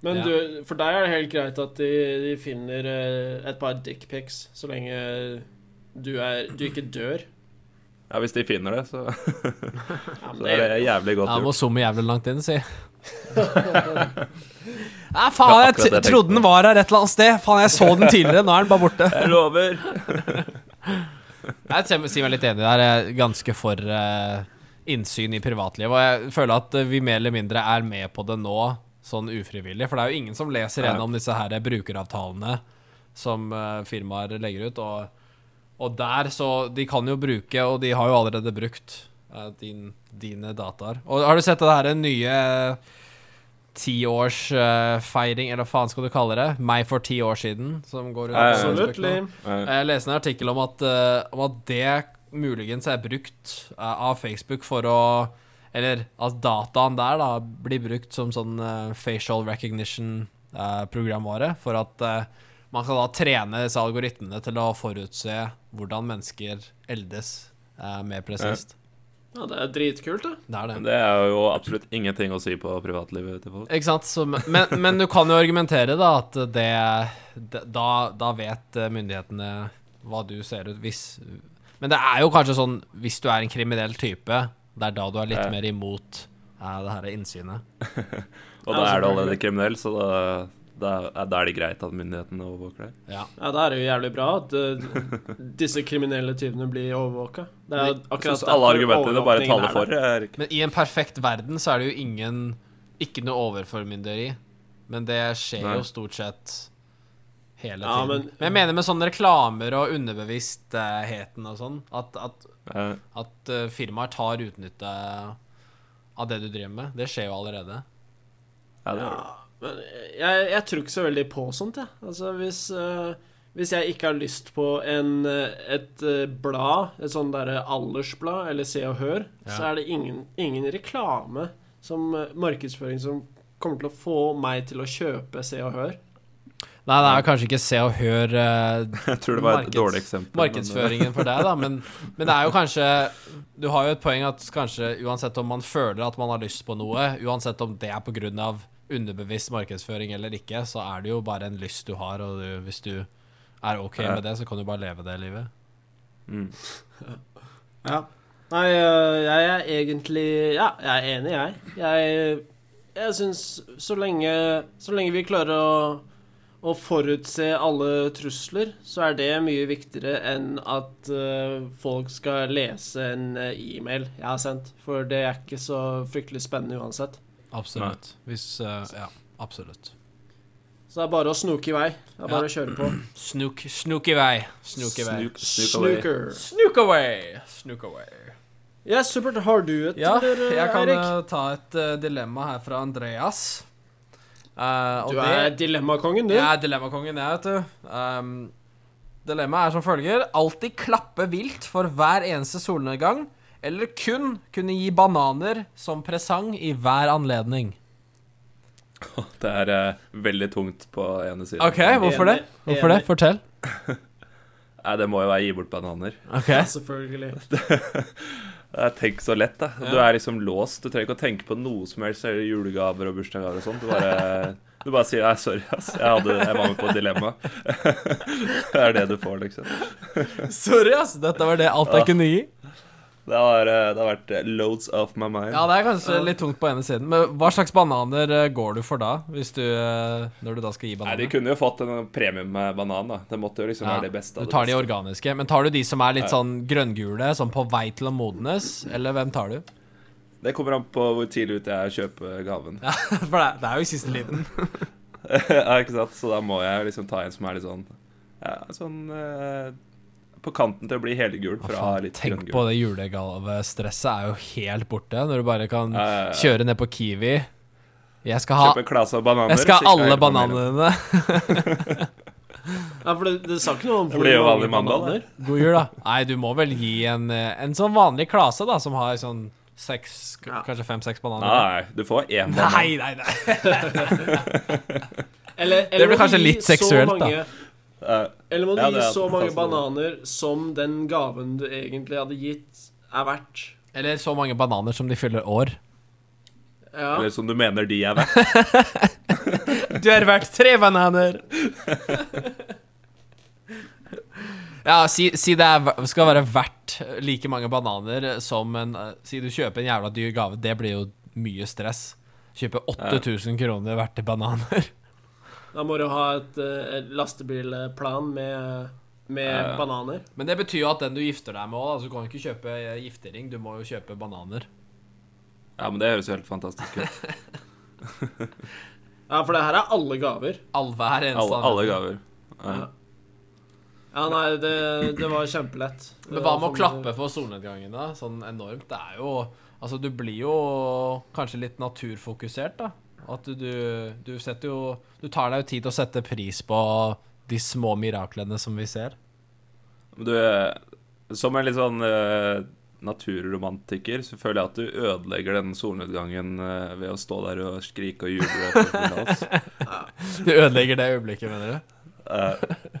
S1: Men
S3: Ja.
S1: du, for deg er det helt greit at de, de finner eh, et par dickpics så lenge du, er, du ikke dør?
S2: ja, Hvis de finner det, så,
S1: Ja, men
S2: så
S1: det,
S2: er det jævlig godt
S3: Ja,
S2: gjort.
S3: må zoome jævlig langt inn, si. Nei, faen, jeg
S2: Det var akkurat det jeg
S3: t- trodde
S2: tenkte.
S3: den var her et eller annet sted. Faen, jeg så den tidligere, nå er den bare borte.
S2: Jeg lover.
S3: Jeg ser- sier meg litt enig der. Jeg er ganske for eh, innsyn i privatlivet. Og jeg føler at eh, vi mer eller mindre er med på det nå, sånn ufrivillig. For det er jo ingen som leser
S2: Ja.
S3: gjennom disse her brukeravtalene som eh, firmaer legger ut. Og, og der, så De kan jo bruke, og de har jo allerede brukt, eh, din, dine dataer. Og har du sett det her nye eh, tiårsfeiring, eh, eller hva faen skal du kalle det? Meg for ti år siden, som går
S2: Ja,
S3: rundt.
S2: ja, ja.
S3: på Facebook nå?
S1: Absolutt.
S2: Nei.
S3: Jeg leste en artikkel om at, eh, om at det muligens er brukt eh, av Facebook for å Eller at dataen der da blir brukt som sånn eh, facial recognition-programvare for at eh, Man skal da trene disse algoritmene til å forutse hvordan mennesker eldes eh, mer presist.
S1: Ja, det er dritkult, det.
S3: Det er det.
S2: Det er jo absolutt ingenting å si på privatlivet til folk.
S3: Ikke sant? Så, men, men du kan jo argumentere da at det, det da, da vet myndighetene hva du ser ut hvis Men det er jo kanskje sånn hvis du er en kriminell type, det er da du er litt
S2: Ja.
S3: mer imot eh, det her innsynet.
S2: Og da er du allerede kriminell, så da, da, er- da er det greit at myndighetene overvåker deg.
S3: Ja.
S1: Ja, Da er det jo jævlig bra at eh, disse kriminelle tyvene blir overvåka. Det er jo
S2: Jeg
S1: akkurat
S2: syns alle
S1: derfor
S2: argumentene bare
S1: overvåkningen er
S2: taler for.
S1: der.
S2: Jeg er ikke
S3: Men i en perfekt verden så er det jo ingen Ikke noe overformynderi. Men det skjer
S2: Nei.
S3: jo stort sett hele tiden.
S1: Ja,
S3: men,
S1: men-
S3: jeg mener med sånne reklamer og underbevisstheten og sånn, at, at,
S2: Eh,
S3: at eh, firmaer tar utnytte av det du driver med. Det skjer jo allerede.
S2: Ja, det
S1: Ja,
S2: er det.
S1: men jeg, jeg tror ikke så veldig på sånt, jeg. Altså, hvis, eh, hvis jeg ikke har lyst på en, eh, et eh, blad, et sånn derre aldersblad eller Se og Hør,
S3: Ja.
S1: så er det ingen, ingen reklame som eh, markedsføring som kommer til å få meg til å kjøpe Se og Hør.
S3: Nei, det er kanskje ikke Se og Hør eh,
S2: Jeg tror det var et
S3: Markeds-
S2: dårlig eksempel. men, eh,
S3: markedsføringen for deg, da, men, men det er jo kanskje Du har jo et poeng at kanskje uansett om man føler at man har lyst på noe, uansett om det er pga. underbevisst markedsføring eller ikke, så er det jo bare en lyst du har, og du, hvis du er OK med det, så kan du bare leve det livet.
S2: Mm.
S1: Ja. Nei, øh, jeg er egentlig Ja, jeg er enig, jeg. Jeg, jeg syns så lenge Så lenge vi klarer å å forutse alle trusler, så er det mye viktigere enn at øh, folk skal lese en øh, e-mail jeg har sendt. For det er ikke så fryktelig spennende uansett.
S3: Absolutt. Hvis eh, Ja, absolutt.
S1: Så det er bare å snoke i vei. Det er bare å kjøre på.
S3: Snook, snook i vei. Snook i vei.
S2: Snook- snook away.
S1: Snooker.
S3: Snook away. Snook away.
S1: Ja, supert. Har du et,
S3: Ja,
S1: eller, øh,
S3: jeg kan
S1: Eirik?
S3: eh, ta et eh, dilemma her fra Andreas. Eh, og
S1: Du
S3: det-
S1: er dilemmakongen, du.
S3: Jeg er dilemmakongen, jeg, vet du. Um, dilemmaet er som følger. Alltid klappe vilt for hver eneste solnedgang, eller kun kunne gi bananer som presang i hver anledning.
S2: Det er eh, veldig tungt på ene siden.
S3: OK, hvorfor det? Hvorfor det?
S1: Enig.
S3: Fortell.
S2: Nei, det må jo være gi bort bananer.
S3: OK.
S1: Ja, selvfølgelig.
S2: Eh, Tenk så lett, da. Du er liksom låst. Du trenger ikke å tenke på noe som helst, eller julegaver og bursdagsgaver og sånn. Du bare, du bare sier 'nei, sorry, ass, jeg, hadde, jeg var med på et dilemma'. det er det du får, liksom.
S3: Sorry, ass. Dette var det alt jeg kunne gi.
S2: Det har, eh, det har vært eh, 'loads off my mind'.
S3: Ja, det er kanskje litt tungt på ene siden, men hva slags bananer eh, går du for da? Hvis du eh, Når du da skal gi
S2: Nei, De
S3: bananer?
S2: kunne jo fått en premie med banan, da. Det måtte jo liksom
S3: Ja,
S2: være det beste. av
S3: Du
S2: det
S3: tar de
S2: beste.
S3: organiske, men tar du de som er litt sånn grønngule, sånn på vei til å modnes, eller hvem tar du?
S2: Det kommer an på hvor tidlig ute jeg kjøper gaven. Ja.
S3: For det er- det er jo i siste liten.
S2: ikke sant? Så da må jeg liksom ta en som er litt sånn ja, Sånn eh, på kanten til å bli helgul
S3: Hva
S2: fra
S3: faen,
S2: litt
S3: Tenk
S2: grønngul.
S3: på det julegavestresset er jo helt borte når du bare kan
S2: Ja, ja, ja.
S3: kjøre ned på Kiwi. Jeg skal ha,
S2: Kjøpe en klase av bananer.
S3: jeg
S2: så ikke
S3: skal ha alle
S2: jeg heller på mer.
S3: bananene.
S1: Ja, for det, det sa ikke noe om
S2: Det
S1: hvor
S2: blir jo
S1: mange
S2: vanlig mandag,
S1: bananer.
S3: God jul, da. Nei, du må vel gi en, eh, en sånn vanlig klase, da, som har sånn seks, k-
S1: Ja.
S3: kanskje fem-seks bananer.
S2: Nei, du får én banan.
S3: Nei, nei, nei.
S1: Eller,
S3: Det blir kanskje litt seksuelt, da.
S2: Eh,
S1: Eller må du
S2: Ja,
S1: gi
S2: det er sånn
S1: så
S2: fantastisk.
S1: mange bananer som den gaven du egentlig hadde gitt, er verdt.
S3: Eller så mange bananer som de fyller år.
S1: Ja.
S2: Eller som du mener de er verdt.
S3: Du er verdt tre bananer. Ja, si, si det er, ver- skal være verdt like mange bananer som en eh, Si du kjøper en jævla dyr gave. Det blir jo mye stress. Kjøpe 8000 kroner verdt i bananer.
S1: Da må du ha et, eh, et lastebilplan med, med
S2: Ja, ja.
S1: bananer.
S3: Men det betyr jo at den du gifter deg med òg, altså, du kan jo ikke kjøpe eh, giftering, du må jo kjøpe bananer.
S2: Ja, men det høres jo helt fantastisk ut.
S1: Ja, for det her er alle gaver.
S3: All hver eneste
S2: Alle, alle gaver.
S1: Ja.
S2: Ja.
S1: Ja, nei, det, det var kjempelett. Det
S3: Men hva
S1: var
S3: med å
S1: for-
S3: klappe for solnedgangen, da? Sånn enormt. Det er jo Altså, du blir jo kanskje litt naturfokusert, da. At du, du, du setter jo Du tar deg jo tid til å sette pris på de små miraklene som vi ser.
S2: Men Du, eh, som en litt sånn eh, naturromantiker så føler jeg at du ødelegger den solnedgangen eh, ved å stå der og skrike og juble. og få full hals.
S3: Du ødelegger det øyeblikket, mener du?
S2: Eh,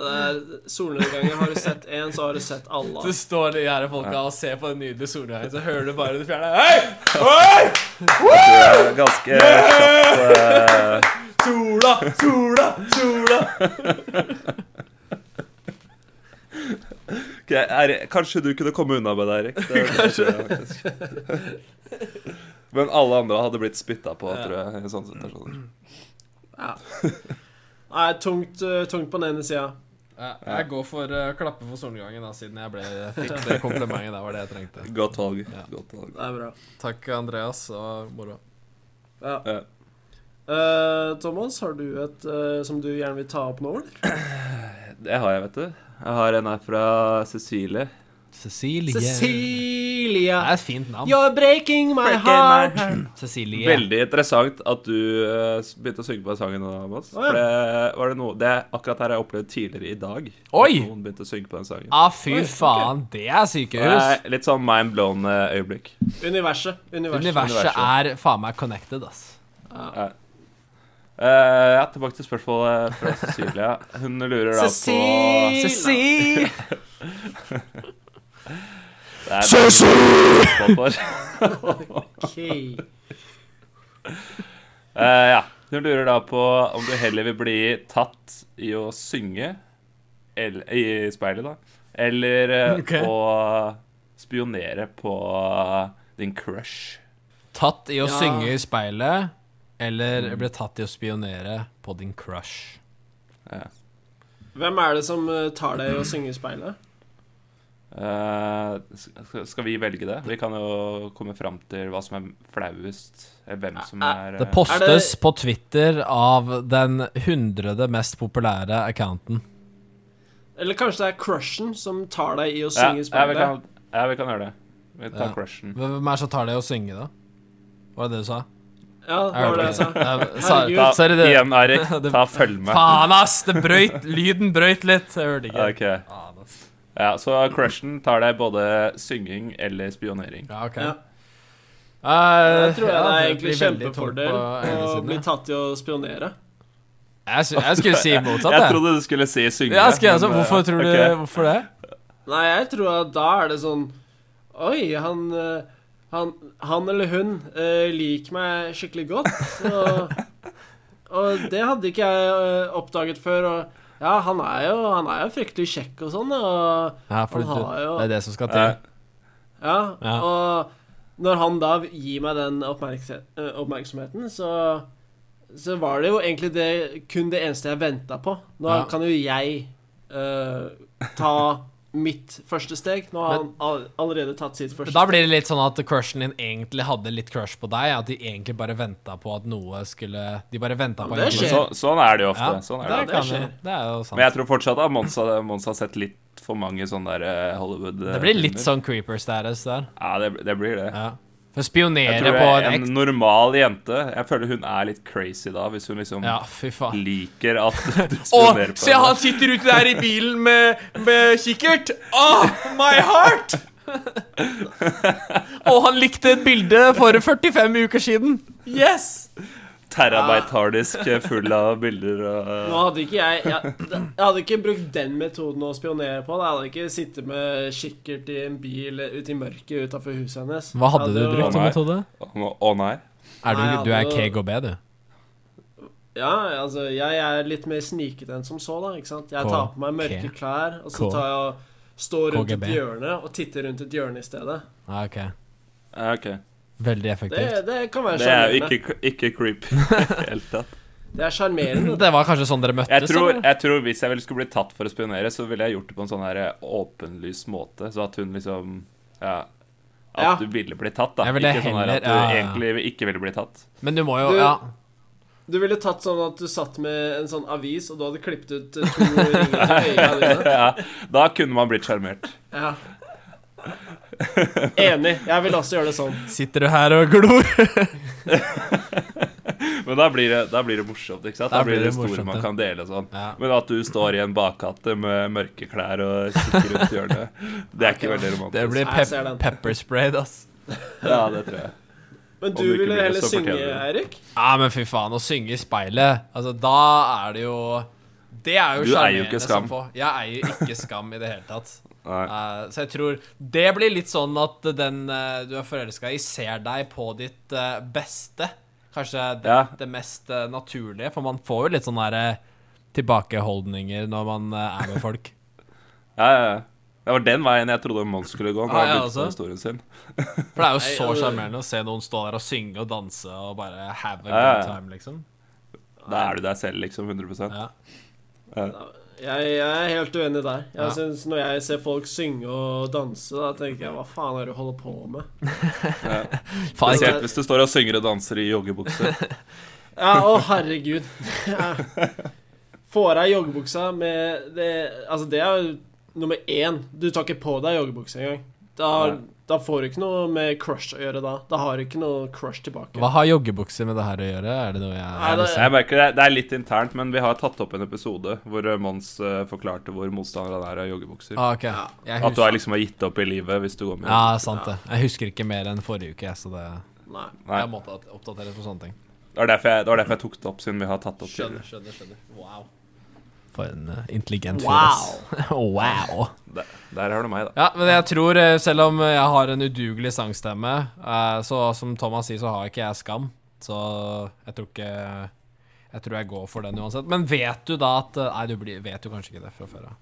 S1: Det er solnedganger. Har du sett én, så har du sett alle.
S3: Så står de her folka og ser på den nydelige solnedgangen, så hører du bare det fjerne Hei! Hei!
S2: det er ganske kjapt eh,
S3: Sola! Sola! Sola!
S2: ok, Erik, Kanskje du kunne komme unna med det, Erik. Det er- Men alle andre hadde blitt spytta på,
S3: Ja.
S2: tror jeg, i sånne situasjoner.
S1: Ja. Nei, tungt, eh, tungt på den ene sida.
S3: Ja, jeg går for å klappe for solnedgangen, da, siden jeg ble fikk det komplimentet. Det var det jeg trengte.
S2: Godt valg.
S3: Ja.
S2: Godt valg.
S1: Det er bra.
S3: Takk, Andreas. Og moro.
S1: Ja.
S2: Ja.
S1: Eh, Thomas, har du et eh, som du gjerne vil ta opp nå, eller?
S2: Det har jeg, vet du. Jeg har en her fra Cecilie.
S3: Cecilie. Det
S1: Cecilia,
S3: er et fint navn.
S1: you're breaking my heart. Mm.
S3: Cecilie.
S2: Veldig interessant at du eh, s- begynte å synge på den sangen nå, Mads.
S1: Å, ja.
S2: For det var det noe Det er akkurat her jeg opplevde tidligere i dag. at
S3: Oi!
S2: Noen begynte å synge på den sangen.
S3: Ah, fy
S1: Oi, ok.
S3: faen, det er
S2: Det er
S3: sykehus!
S2: litt sånn mind blown eh, øyeblikk.
S1: Universet. Universet.
S3: Universet er faen meg connected, ass.
S2: Eh, ja, tilbake til spørsmålet fra Cecilia. Hun lurer da på
S1: Cecilie!
S3: Cecilie!
S2: Det er- Spørsmål for.
S1: Ok.
S2: Eh, ja. Hun lurer da på om du heller vil bli tatt i å synge eller, I speilet, da. Eller eh,
S3: Ok.
S2: å spionere på din crush.
S3: Tatt i
S1: Ja.
S3: å synge i speilet, eller ble tatt i å spionere på din crush.
S1: Hvem er det som eh, tar deg og synger i speilet?
S2: Eh, skal, skal vi velge det? Vi kan jo komme fram til hva som er flaust. Eller hvem som er
S3: Det
S2: eh,
S3: postes på Twitter av den hundrede mest populære accounten.
S1: Eller kanskje det er crushen som tar deg i å
S2: eh, ja,
S1: synge i
S2: ja, vi
S1: speilet?
S2: kan, ja, vi kan gjøre det. Vi tar
S3: Ja.
S2: crushen.
S3: Hvem er det som tar det i å synge, da? Var det det du sa?
S1: Ja, det var det jeg sa.
S3: Eh, sa-
S1: Herregud.
S2: Ta,
S3: Sorry, det
S2: igjen, Eirik.
S3: det-
S2: Ta følg med.
S3: Faen, ass! Det brøyt, lyden brøyt litt. Jeg hørte ikke.
S2: Ok.
S3: Faen, ass.
S2: Ja, så crushen tar deg både synging eller spionering.
S3: Ja, ok.
S1: Ja.
S3: Eh,
S1: Jeg tror jeg
S3: ja,
S1: det er
S3: det
S1: egentlig
S3: blir veldig
S1: kjempefordel
S3: tungt på ene
S1: å
S3: siden,
S1: bli
S3: ja.
S1: tatt i å spionere.
S3: Jeg, sy- jeg skulle si motsatt,
S2: Jeg
S3: jeg.
S2: trodde du skulle si synge.
S3: Ja, skal jeg altså,
S2: men, eh,
S3: hvorfor tror du
S2: ok.
S3: Hvorfor det?
S1: Nei, jeg tror at da er det sånn Oi, han eh, Han, han eller hun eh, liker meg skikkelig godt. Og, og det hadde ikke jeg eh, oppdaget før. Og ja, han er jo, han er jo fryktelig kjekk og sånn. Og,
S3: Ja,
S1: Han
S3: for det,
S1: har jo-
S3: det er det som skal
S2: Eh,
S3: til.
S1: ja,
S3: Ja.
S1: og når han da gir meg den oppmerkse- eh, oppmerksomheten, så så var det jo egentlig det, kun det eneste jeg venta på. Nå
S3: Ja.
S1: kan jo jeg eh, ta mitt første steg. Nå har han all, allerede tatt sitt første
S3: Da blir det litt sånn at crushen din egentlig hadde litt crush på deg. At de egentlig bare venta på at noe skulle De bare venta
S1: Ja,
S3: på
S1: men det
S2: men
S3: egentlig-
S1: skjer.
S2: så, sånn er det jo ofte.
S3: Ja,
S2: Sånn er
S3: det,
S2: det.
S1: Ja, det
S3: kan
S1: skjer.
S3: jo- det er jo sant.
S2: Men jeg tror fortsatt at Mons har, Mons har sett litt for mange sånne der eh, Hollywood eh,
S3: det blir litt
S2: filmer.
S3: sånn creeper status der.
S2: Ja, det, det blir det.
S3: Ja. For å
S2: Jeg
S3: spionere
S2: tror
S3: på
S2: jeg,
S3: en
S2: en
S3: ekte
S2: normal jente Jeg føler hun er litt crazy da, hvis hun liksom
S3: Ja, fy faen.
S2: liker at du
S3: Å,
S2: spionerer på
S3: se han sitter ute der i bilen med, med kikkert! Åh, my heart! Og han likte et bilde for 45 uker siden. Yes!
S2: Terabyte-harddisk eh, full av bilder og eh,
S1: Nå hadde ikke jeg, jeg Jeg hadde ikke brukt den metoden å spionere på. da. Jeg hadde ikke sittet med kikkert i en bil ute i mørket utafor huset hennes.
S3: Hva hadde du
S1: Jeg jo-
S3: brukt som
S2: Nei.
S3: metode?
S2: Å å nei.
S3: Er du,
S1: Nei,
S3: du er
S1: altså-
S3: KGB, du.
S1: Ja, altså, jeg er litt mer snikete enn som så, da. ikke sant? Jeg
S3: K-
S1: tar på meg mørke
S3: K-
S1: klær, og
S3: K-
S1: så tar jeg og står rundt et
S3: KGB.
S1: hjørne og titter rundt et hjørne i stedet.
S3: Ja, ok.
S2: Ja, Eh, ok.
S3: Veldig
S1: Det,
S3: effektivt.
S1: det kan være
S2: Det er jo
S1: sjarmerende.
S2: ikke, ikke creepy i det hele tatt.
S1: Det er sjarmerende.
S3: Det var kanskje sånn dere møttes?
S2: Jeg tror,
S3: eller?
S2: jeg tror hvis jeg vel skulle bli tatt for å spionere, så ville jeg gjort det på en sånn her åpenlys måte, så at hun liksom Ja. At
S1: Ja.
S2: du ville bli tatt, da.
S3: Jeg ville
S2: ikke sånn her at du
S3: heller- ja, ja, ja.
S2: egentlig ikke ville bli tatt.
S3: Men du må jo
S1: Du-
S3: Ja.
S1: Du ville tatt sånn at du satt med en sånn avis, og du hadde klippet ut eh, to ringer til øya dine.
S2: Ja, da kunne man blitt sjarmert.
S1: Ja. Enig. Jeg vil også gjøre det sånn.
S3: Sitter du her og glor?
S2: Men da blir det, da blir det morsomt, ikke sant? Da, blir det, store
S3: morsomt,
S2: man
S3: ja.
S2: kan dele og sånn.
S3: Ja.
S2: Men at du står i en bakgate med mørke klær og kikker rundt hjørnet, det er ikke veldig romantisk.
S3: Det blir
S1: Nei, jeg ser den.
S3: pep peppersprayed, ass.
S2: Ja, det tror jeg.
S1: Men
S2: Om du
S1: du
S2: ikke
S1: ville
S2: blir det,
S1: heller
S2: så
S1: synge,
S2: fortjener du det.
S1: Eirik?
S3: Ja, men fy faen, å synge i speilet Altså, da er det jo Det er jo
S2: Du eier jo
S3: sjarmerende
S2: ikke
S3: som
S2: Skam.
S3: få. Jeg eier jo ikke Skam i det hele tatt.
S2: Nei.
S3: Eh, så jeg tror Det blir litt sånn at den eh, du er forelska i, ser deg på ditt eh, beste. Kanskje det,
S2: Ja.
S3: det mest eh, naturlige, for man får jo litt sånne her, eh, tilbakeholdninger når man eh, er med folk.
S2: Ja, ja, ja. Det var den veien jeg trodde Mons skulle gå. Når
S3: Ah,
S2: han
S3: ja,
S2: begynte på
S3: altså.
S2: historien sin
S3: For det er jo
S1: Nei,
S3: så
S1: altså-
S3: sjarmerende å se noen stå der og synge og danse og bare have a
S2: Ja, ja.
S3: good time, liksom.
S2: Da er du deg selv, liksom. 100
S3: Ja.
S1: Jeg, jeg er helt uenig der. Jeg
S3: Ja.
S1: synes Når jeg ser folk synge og danse, da tenker jeg hva faen er det du holder på med?
S3: Faen, ikke,
S2: Spesielt hvis du står og synger og danser i joggebukse.
S1: Ja, å herregud. Ja. Får jeg joggebuksa med det Altså, det er jo nummer én. Du tar ikke på deg joggebukse engang. Da,
S2: Nei.
S1: da får du ikke noe med crush å gjøre da. Da har du ikke noe crush tilbake.
S3: hva har joggebukser med det her å gjøre? Er det noe jeg
S1: Nei, det-
S2: Jeg merker det, det er litt internt, men vi har tatt opp en episode hvor eh, Mons eh, forklarte hvor motstander han er av joggebukser.
S3: Ah, ok.
S1: Ja.
S3: Jeg
S2: At du har
S3: husker,
S2: liksom har gitt opp i livet hvis du går med
S3: ja, sant det. Jeg husker ikke mer enn forrige uke, jeg, så det
S1: Nei.
S2: Nei.
S3: Jeg måtte oppdateres på sånne ting.
S2: Det var derfor jeg, det var derfor jeg tok det opp, siden vi har tatt det opp tidligere.
S3: skjønner, skjønner. Wow. For en eh, intelligent fyr, ass.
S1: Wow.
S3: wow.
S2: Der, der har du meg, da.
S3: Ja, men jeg tror, eh, selv om jeg har en udugelig sangstemme, eh, så som Thomas sier, så har ikke jeg skam. Så jeg tror ikke Jeg tror jeg går for den uansett. Men vet du da at eh, Nei, du blir, vet jo kanskje ikke det fra før av.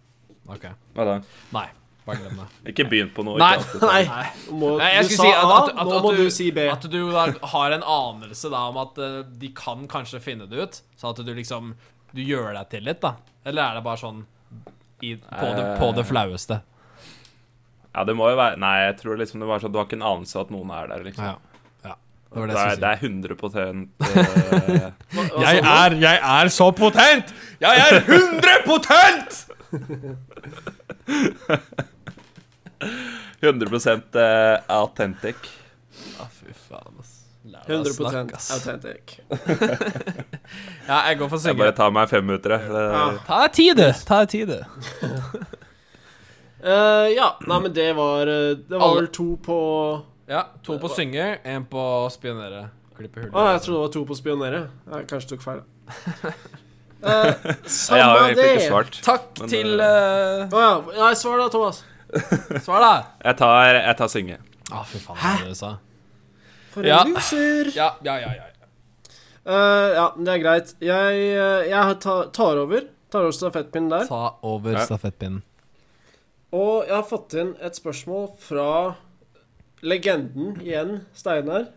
S3: Ok.
S2: Hva da?
S3: Nei. Bare glem det.
S2: Ikke begynn på noe.
S3: Nei.
S2: ikke alt.
S1: Nei.
S3: Nei.
S1: Du Må,
S3: Nei,
S1: du
S3: jeg
S1: sa
S3: skulle si
S1: A,
S3: at, at, at,
S1: nå
S3: at,
S1: må du,
S3: du,
S1: si B.
S3: at du da har en anelse da om at eh, de kan kanskje finne det ut, sånn at du liksom Du gjør deg til litt, da. Eller er det bare sånn i, på, det, på det flaueste?
S2: Ja, det må jo være Nei, jeg tror liksom det var sånn du har ikke en anelse at noen er der, liksom.
S3: Ja. ja. Det var
S2: Det
S3: det jeg
S2: er, det
S3: skulle si.
S2: er 100 eh,
S1: Hva- hva sa du?
S3: jeg er så potent! Jeg er 100 potent!
S2: 100 eh, authentic.
S3: Ja, fy faen, ass. Lær deg å
S1: 100
S3: snakke, ass.
S1: authentic.
S3: Ja, jeg går for
S2: Jeg bare
S3: synge.
S2: tar meg fem minutter, jeg. Eh,
S1: Ja.
S2: Det-
S3: Ta deg tid, du. Ta deg tid, du.
S1: Eh, ja, nei, men det var eh, Det var
S3: Alle-
S1: vel to på Å,
S3: Ja, to på synge, én på spionere. Klippe
S1: jeg
S3: hull.
S1: trodde det var to på spionere. Jeg kanskje tok feil. Uh,
S2: Jeg har jo
S1: samme
S2: egentlig ikke
S1: det.
S2: svart.
S3: Takk
S2: Men,
S3: til eh,
S1: Å ja. Nei, svar da, Thomas.
S3: Svar, da.
S2: Jeg tar, jeg tar synge.
S3: Å, fy faen, hva var det du sa?
S1: For
S3: Ja.
S1: en loser.
S3: Ja, ja, ja. ja.
S1: Eh, ja, men det er greit. Jeg, eh, jeg tar, tar over. Tar over stafettpinnen der.
S3: Ta over
S2: Ja.
S3: stafettpinnen.
S1: Og jeg har fått inn et spørsmål fra legenden igjen, Steinar.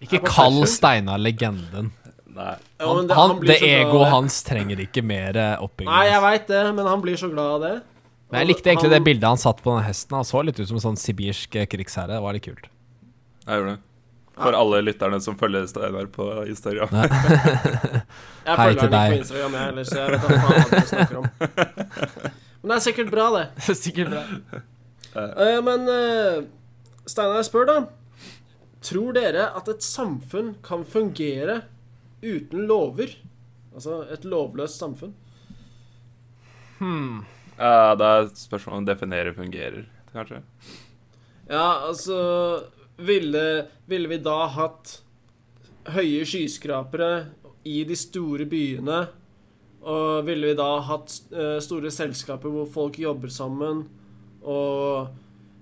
S3: Ikke
S1: Jeg må
S3: kall
S1: kanskje-
S3: Steinar legenden.
S2: Nei.
S1: Ja, men
S3: Han,
S1: det-
S3: han,
S1: blir
S3: det
S1: så glad av
S3: egoet
S1: det.
S3: hans trenger ikke mer eh, oppbygging.
S1: Nei, jeg
S3: ass.
S1: veit det, men han blir så glad av det.
S3: Men jeg likte egentlig det
S1: Han-
S3: bildet han satt på den hesten. Han så litt ut som en sånn sibirsk eh, krigsherre. Det var litt kult.
S2: Jeg gjorde det. For alle lytterne som følger Steinar på Instagram.
S1: Jeg
S3: Hei
S1: følger han ikke
S3: til deg.
S1: på Instagram, jeg heller, så jeg vet da faen hva du snakker om. Men det er sikkert bra, det.
S3: Sikkert bra.
S1: Eh, men eh, Steinar spør, da. Tror dere at et samfunn kan fungere uten lover? Altså et lovløst samfunn?
S2: Ja, det er spørsmålet om definerer fungerer, kanskje.
S1: Ja, altså ville, ville vi da hatt høye skyskrapere i de store byene? Og ville vi da hatt eh, store selskaper hvor folk jobber sammen? Og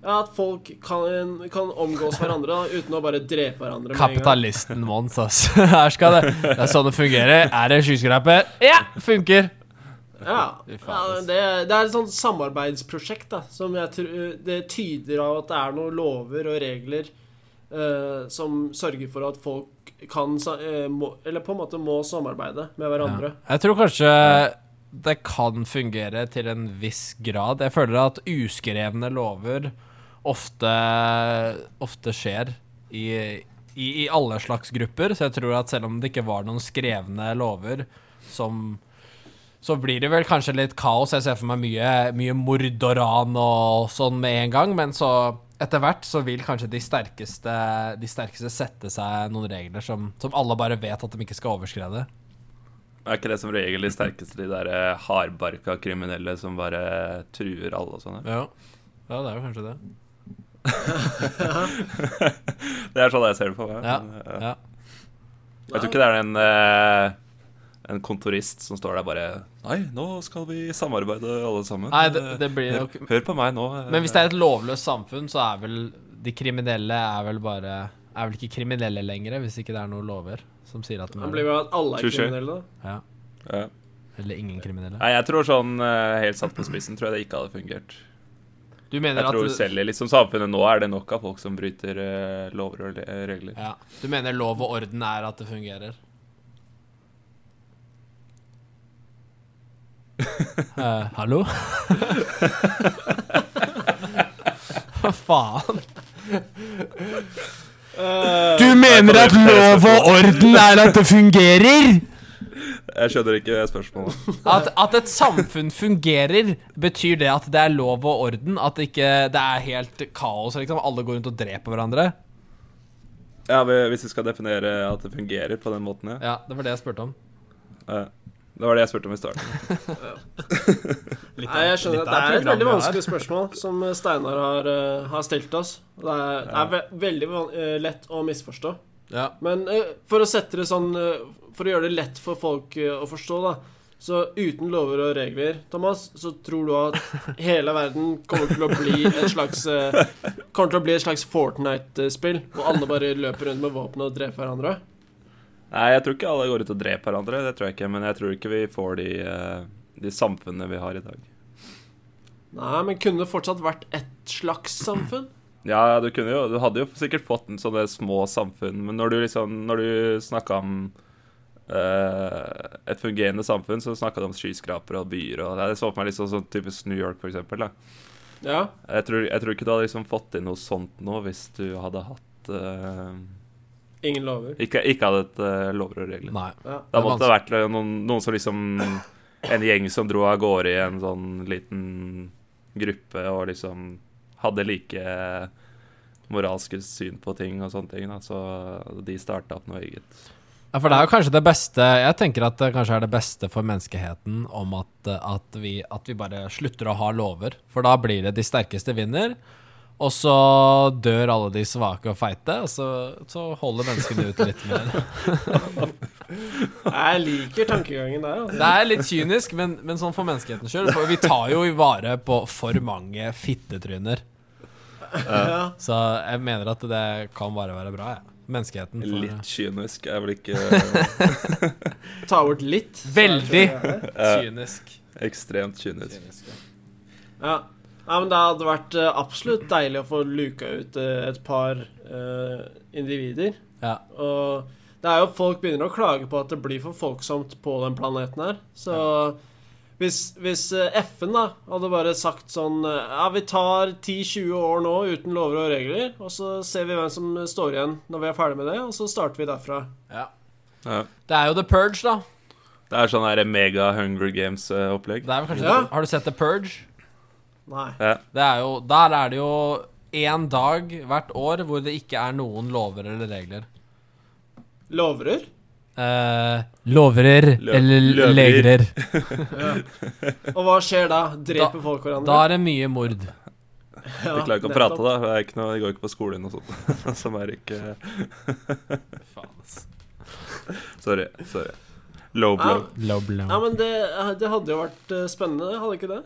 S1: ja, at folk kan, kan omgås hverandre da, uten å bare drepe hverandre med en gang.
S3: Kapitalisten Mons, ass. Her skal det. Det er sånn det fungerer. Er det skyskraper? Ja, funker.
S1: Ja,
S3: Fy faen,
S1: ja
S3: ass.
S1: det, det er et sånt samarbeidsprosjekt da, som jeg tror Det tyder av at det er noen lover og regler eh, som sørger for at folk kan sa- eh, må, Eller på en måte må samarbeide med hverandre.
S3: Ja. Jeg tror kanskje det kan fungere til en viss grad. Jeg føler at uskrevne lover ofte, ofte skjer i, i, i alle slags grupper, så jeg tror at selv om det ikke var noen skrevne lover som så blir det vel kanskje litt kaos. Jeg ser for meg mye, mye mord og ran og sånn med en gang, men så etter hvert så vil kanskje de sterkeste, de sterkeste sette seg noen regler som, som alle bare vet at de ikke skal overskrede.
S2: Er ikke det som regel de sterkeste, de der eh, hardbarka kriminelle som bare truer alle og sånn? sånne?
S3: Ja. ja, det er jo kanskje det.
S2: Det er sånn jeg ser det for meg.
S3: Ja,
S2: men, ja.
S3: ja.
S2: Jeg tror ikke det er den eh, en kontorist som står der bare Nei, nå skal vi samarbeide alle sammen.
S3: Nei, det- det blir
S2: Eh,
S3: nok-
S2: hør, hør på meg nå. eh,
S3: Men hvis det er et lovløst samfunn, så er vel de kriminelle er vel bare Er vel ikke kriminelle lenger, hvis ikke det er noen lover som sier at de
S1: Det
S3: er
S1: blir
S3: det.
S1: jo at alle er
S2: Touché.
S1: kriminelle, da.
S3: Ja.
S2: ja.
S3: Eller ingen kriminelle.
S2: Nei, jeg tror sånn eh, helt satt på spissen tror jeg det ikke hadde fungert.
S3: Du mener
S2: Jeg
S3: at
S2: tror
S3: du-
S2: selv i liksom samfunnet nå er det nok av folk som bryter eh, lover og le- regler.
S3: ja. Du mener lov og orden er at det fungerer? Eh, hallo? Hva faen? Du mener
S2: at lov og
S3: orden er at det fungerer?
S2: Jeg skjønner ikke spørsmålet.
S3: At, at et samfunn fungerer, betyr det at det er lov og orden? At det ikke det er helt kaos? liksom Alle går rundt og dreper hverandre?
S2: Ja, men Hvis vi skal definere at det fungerer på den måten, ja.
S3: Ja, det var det jeg spurte om.
S2: ja. Det var det jeg spurte om i starten.
S1: Nei, jeg skjønner at Det er et veldig vanskelig spørsmål som eh, Steinar har, eh, har stilt oss. Det er, det er ve veldig van eh, lett å misforstå.
S3: Ja.
S1: Men eh, for å sette det sånn eh, For å gjøre det lett for folk eh, å forstå, da. Så uten lover og regler, Thomas, så tror du at hele verden kommer til å bli et slags eh, Kommer til å bli et slags Fortnite-spill, hvor alle bare løper rundt med våpen og dreper hverandre?
S2: Nei, jeg tror ikke alle går ut og dreper hverandre, det tror jeg ikke. Men jeg tror ikke vi får de, eh, de samfunnene vi har i dag.
S1: Nei, men kunne det fortsatt vært et slags samfunn?
S2: Ja, du kunne jo Du hadde jo sikkert fått en sånne små samfunn, men når du liksom Når du snakka om eh, et fungerende samfunn, så snakka du om skyskrapere og byer og Jeg så for meg litt sånn, sånn typisk New York, for eksempel. Da.
S1: Ja.
S2: Jeg, tror, jeg tror ikke du hadde liksom fått inn noe sånt nå hvis du hadde hatt eh,
S1: Ingen lover.
S2: ikke, ikke hadde et eh, lover og regler.
S3: Nei.
S1: Ja.
S2: Da
S3: Det er
S2: måtte det vært noen, noen som liksom En gjeng som dro av gårde i en sånn liten gruppe og liksom hadde like moralske syn på ting og sånne ting. Da. Så de starta opp noe eget.
S3: Ja, for det er jo kanskje det beste Jeg tenker at det kanskje er det beste for menneskeheten om at, at, vi, at vi bare slutter å ha lover. For da blir det de sterkeste vinner, og så dør alle de svake og feite, og så, så holder menneskene ut litt mer.
S1: Jeg liker tankegangen der. Altså.
S3: Det er litt kynisk, men, men sånn for menneskehetens skyld. For vi tar jo i vare på for mange fittetryner.
S1: Ja.
S3: Så jeg mener at det kan bare være bra, jeg. Menneskeheten. får-
S2: Litt kynisk er vel ikke
S1: Ta bort litt. så
S3: Veldig.
S1: tror jeg det er det.
S3: kynisk.
S2: ekstremt kynisk.
S1: Ja. ja, men det hadde vært eh, absolutt deilig å få luka ut eh, et par eh, individer.
S3: Ja.
S1: Og det er jo folk begynner å klage på at det blir for folksomt på den planeten her. Så hvis, hvis eh, FN da hadde bare sagt sånn eh, Ja, vi tar 10-20 år nå uten lover og regler, og så ser vi hvem som står igjen når vi er ferdig med det, og så starter vi derfra.
S3: ja.
S2: Ja.
S3: Det er jo The Purge, da.
S2: Det er sånn der mega Hunger Games-opplegg.
S3: Det er vel kanskje
S1: Ja.
S3: Har du sett The Purge?
S1: Nei.
S2: Ja.
S3: Det er jo, der er det jo én dag hvert år hvor det ikke er noen lover eller regler.
S1: Lovrer?
S3: Eh, loverer
S2: Lø- løverer.
S1: Ja. Og hva skjer da? Dreper folk hverandre?
S3: Da er det mye mord.
S2: De
S1: Ja,
S2: klarer ikke å
S1: nettopp.
S2: prate, da. Det er ikke noe, de går ikke på skolen og sånt. Som er ikke Sorry. sorry. Low blow.
S3: Low blow.
S1: Ja, men det, det hadde jo vært eh, spennende, hadde ikke det?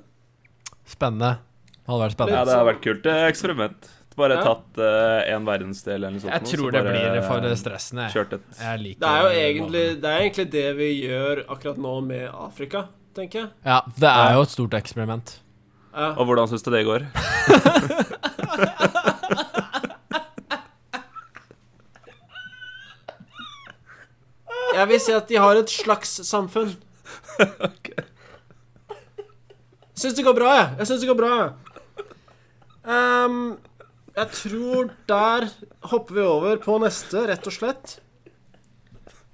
S3: Spennende. Det hadde vært
S2: Ja,
S3: spennende.
S2: det har vært kult eh, eksperiment. Bare
S1: Ja.
S2: tatt eh, en verdensdel eller noe sånt.
S3: Jeg
S2: og så
S3: tror det
S2: bare,
S3: blir for
S2: eh,
S3: stressen, jeg.
S2: Kjørt et
S3: Jeg liker
S1: Det er jo egentlig det, er egentlig det vi gjør akkurat nå med Afrika, tenker jeg.
S3: Ja, det er jo et stort eksperiment.
S1: Ja.
S2: Og hvordan syns du det går?
S1: Jeg vil si at de har et slags samfunn. Syns det går bra, jeg. Jeg syns det går bra. jeg. Ehm, jeg tror der hopper vi over på neste, rett og slett.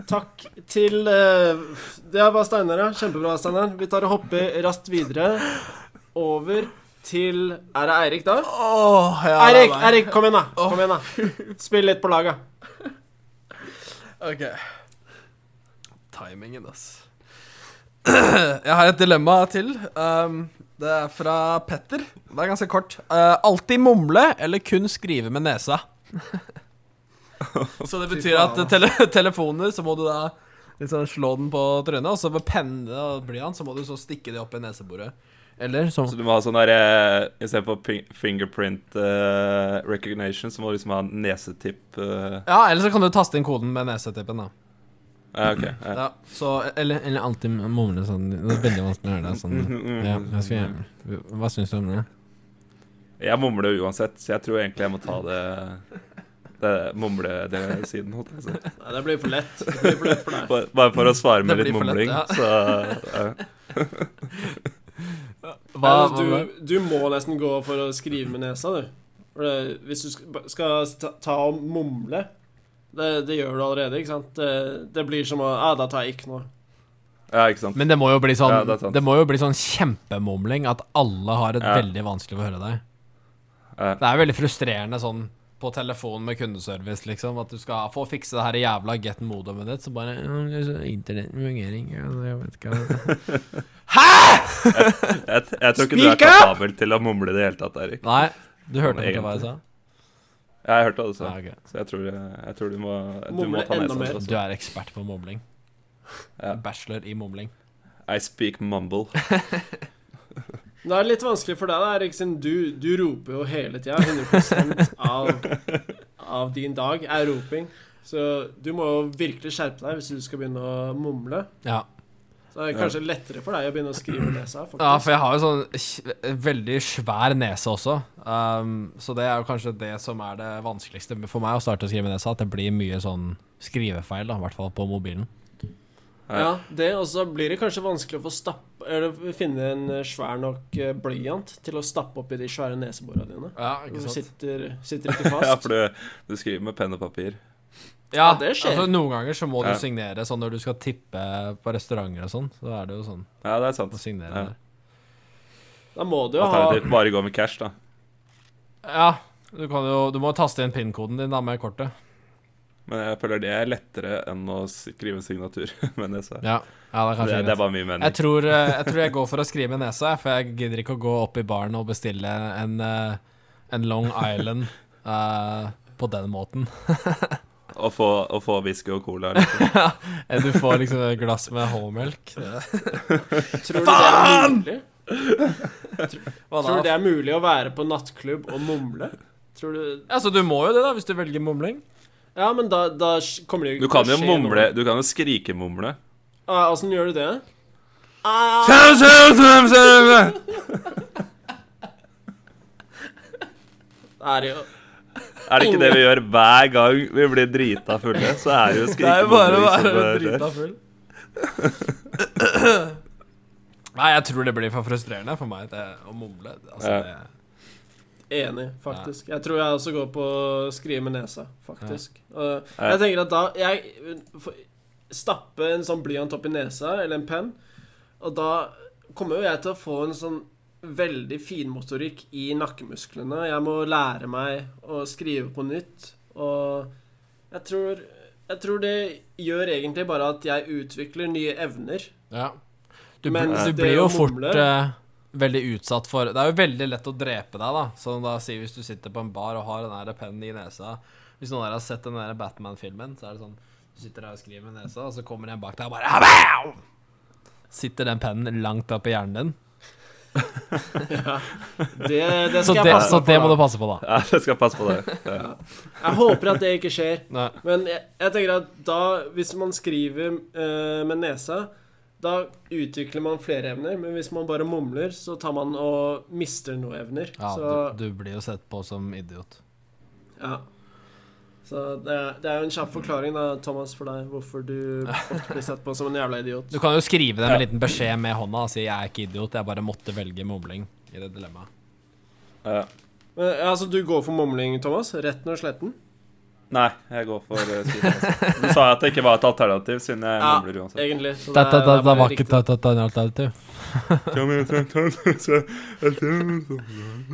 S1: Takk til eh, Det var Steinar, ja. Kjempebra, Steinar. Vi tar og hopper raskt videre over til Er det Eirik, da?
S3: Åh, ja,
S1: Eirik, Eirik, kom igjen, da. Kom igjen da Spill litt på laget.
S3: Ok. Timingen, ass. Jeg har et dilemma til. Um, det er fra Petter. Det er ganske kort. Uh, alltid mumle eller kun skrive med nesa? Så det betyr at tele telefoner så må du da Liksom slå den på trynet, og så med penne og blyant så må du så stikke det opp i neseboret. Eller så
S2: Så du må ha sånn derre Istedenfor ping- fingerprint eh, recognition, så må du liksom ha nesetipp eh.
S3: Ja, eller så kan du taste inn koden med nesetippen, da.
S2: Ja, OK. ja.
S3: Ja, så, eller, eller alltid mumle sånn. Det er veldig vanskelig å gjøre det sånn. Ja,
S2: Mm.
S3: jeg skal, gjøre- hva syns du om det?
S2: Jeg mumler jo uansett, så jeg tror egentlig jeg må ta det det mumledelen-siden. holdt jeg på å si.
S1: Nei, det blir for lett. Det blir for lett for deg.
S2: Bare bare for å svare med
S3: Det
S2: litt
S3: blir for lett,
S2: mumling,
S3: ja.
S2: så eh,
S3: Hva,
S1: du,
S3: hva,
S1: altså, du må nesten gå for å skrive med nesa, du. For det- Hvis du sk- skal ta- ta og mumle det, det gjør du allerede, ikke sant? Det, det blir som å Ja, da tar jeg ikke noe.
S2: Ja, ikke sant.
S3: men det må jo bli sånn
S2: Ja, det er
S3: det,
S2: sant.
S3: må jo bli sånn kjempemumling at alle har et
S2: Ja.
S3: veldig vanskelig for å høre deg.
S2: Ja.
S3: Det er veldig frustrerende sånn på telefon med kundeservice, liksom. At du skal få fikse det her jævla get modemet ditt, så bare ja, men så Internetten fungerer ikke, altså, jeg vet ikke
S2: Jeg, jeg tror ikke du er
S1: Speak up!
S2: kapabel til å mumle i det hele tatt, Erik.
S3: Nei, du hørte ikke hva jeg sa?
S2: Jeg har hørt hva du sa,
S3: Nei, ok.
S2: Sånn så Sånn jeg tror, jeg tror du må du må
S1: Mumle
S2: ta
S1: enda
S2: nesa
S1: mer.
S2: til også.
S3: Du er ekspert på
S2: sånn,
S3: mumling.
S2: Ja.
S3: Bachelor i mumling.
S2: I speak mumble.
S1: Men Det er litt vanskelig for deg, da, Erik, siden du, du roper jo hele tida. 100 av, av din dag er roping. Så du må jo virkelig skjerpe deg hvis du skal begynne å mumle.
S3: Ja.
S1: Så det er kanskje lettere for deg å begynne å skrive med nesa, faktisk.
S3: Ja, for jeg har jo sånn kj- veldig svær nese også. Um, så det er jo kanskje det som er det vanskeligste for meg å starte å skrive nesa. At det blir mye sånn skrivefeil, da, i hvert fall på mobilen.
S1: Ja, det, og så blir det kanskje vanskelig å få stapp, eller finne en eh, svær nok eh, blyant til å stappe oppi de svære neseborene dine.
S3: Ja,
S1: Du sitter, sitter ikke fast.
S2: Ja, for du, du skriver med penn og papir.
S3: Ja,
S1: Ja, det skjer.
S3: Altså, noen ganger så må
S2: Ja.
S3: du signere sånn når du skal tippe på restauranter og sånn. Så er det jo sånn
S2: Ja, det er sant.
S3: å signere
S2: Ja.
S3: der.
S1: Da må du jo ha
S2: Alternativt bare gå med cash, da.
S3: Ja, du kan jo Du må taste inn pin-koden din da med kortet.
S2: Men jeg føler det er lettere enn å skrive signatur med nesa.
S3: Ja, ja det er kanskje
S2: Det, det er bare min
S3: Jeg
S2: mening.
S3: tror, eh, jeg tror jeg går for å skrive med nesa, jeg, for jeg gidder ikke å gå opp i baren og bestille en, eh, en Long Island eh, på den måten.
S2: Å få, å få whisky og cola. Liksom.
S3: Eh, Du får liksom et glass med håmelk.
S1: Tror du det er mulig?
S3: Hva
S1: Tror du det
S3: da?
S1: er mulig å være på nattklubb og mumle? Tror du
S3: Altså, du må jo det, da, hvis du velger mumling.
S1: Ja, men da, da sk- kommer det jo
S2: Du
S1: ikke
S2: kan
S1: til å
S2: jo
S1: skje
S2: mumle
S1: noe.
S2: Du kan jo skrikemumle.
S1: Ah, Åssen gjør du det?
S2: Er
S1: Det er jo
S2: det ikke det vi gjør hver gang vi blir drita fulle? Så er det jo
S3: Det er jo bare å være
S2: skrikemumling.
S3: drita full. Nei, jeg tror det blir for frustrerende for meg det, å mumle. Altså,
S2: Ja.
S3: det,
S1: Enig, faktisk. Jeg tror jeg også går på å skrive med nesa, faktisk. Og
S2: Ja.
S1: jeg tenker at da jeg får Stappe en sånn blyant opp i nesa, eller en penn, og da kommer jo jeg til å få en sånn veldig finmotorikk i nakkemusklene. Jeg må lære meg å skrive på nytt, og jeg tror jeg tror det gjør egentlig bare at jeg utvikler nye evner.
S3: Ja. Du,
S1: Men
S3: bl- du
S1: det
S3: blir jo
S1: å
S3: fort
S1: mumle-
S3: eh, veldig utsatt for Det er jo veldig lett å drepe deg, da. Sånn da si hvis du sitter på en bar og har den der pennen i nesa Hvis noen av dere har sett den der Batman-filmen, så er det sånn Du sitter der og skriver med nesa, og så kommer en bak deg og bare «Abau!» Sitter den pennen langt opp i hjernen din?
S1: Det, det
S3: Så
S1: skal
S3: det,
S1: jeg passe
S3: så det
S1: på.
S3: må du
S1: da.
S3: passe på, da.
S2: Ja, jeg skal passe på det. Ja.
S1: Jeg håper at det ikke skjer.
S3: Nei.
S1: Men jeg, jeg tenker at da, hvis man skriver eh, med nesa, da utvikler man flere evner. Men hvis man bare mumler, så tar man og mister noen evner.
S3: Ja,
S1: så,
S3: du, du blir jo sett på som idiot.
S1: ja. så det, er- det er jo en kjapp forklaring, da, Thomas, for deg, hvorfor du ofte blir sett på som en jævla idiot.
S3: Du kan jo skrive dem en liten beskjed med hånda og si 'jeg er ikke idiot', jeg bare måtte velge mumling i det dilemmaet.
S2: Ja.
S1: Men, altså, du går for mumling, Thomas? Retten og sletten?
S2: Nei, jeg går for eh, skrikemumle. Du sa at det ikke var et alternativ, siden jeg
S1: Ja,
S2: mumler uansett.
S1: egentlig. Så
S3: Det, det, det,
S1: bare
S3: var
S1: riktig.
S3: ikke et alternativ.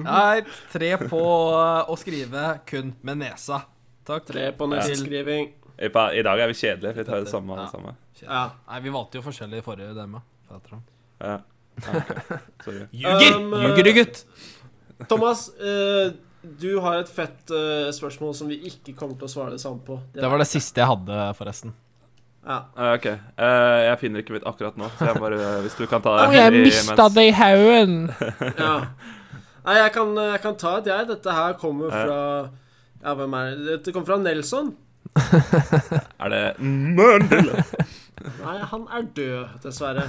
S3: Nei, tre på eh, å skrive kun med nesa. Takk.
S1: Tre på neseskriving.
S2: I pa- I dag er vi kjedelige. Vi tar det samme.
S3: Ja.
S2: Det samme.
S1: Ja.
S3: Nei, vi valgte jo forskjellig i forrige dilemma. Prater om.
S2: Ja. Ja, ok. Sorry.
S1: Ljuger!
S3: Um,
S1: Ljuger
S3: Ljuger
S1: du,
S3: du, gutt?
S1: Thomas, eh, du har et fett eh, spørsmål som vi ikke kommer til å svare det samme på.
S3: Det var det siste jeg hadde, forresten.
S1: Ja.
S2: Eh, OK. Eh, jeg finner ikke mitt akkurat nå, så jeg bare eh, Hvis du kan ta det
S4: Å, jeg
S2: i-
S4: mista
S2: mens-
S4: det i haugen.
S1: ja. Nei, jeg kan, jeg kan ta et, jeg. Dette her kommer fra Ja, hvem er det? Dette kommer fra Nelson.
S2: Er det Mandela?
S1: Nei, han er død, dessverre.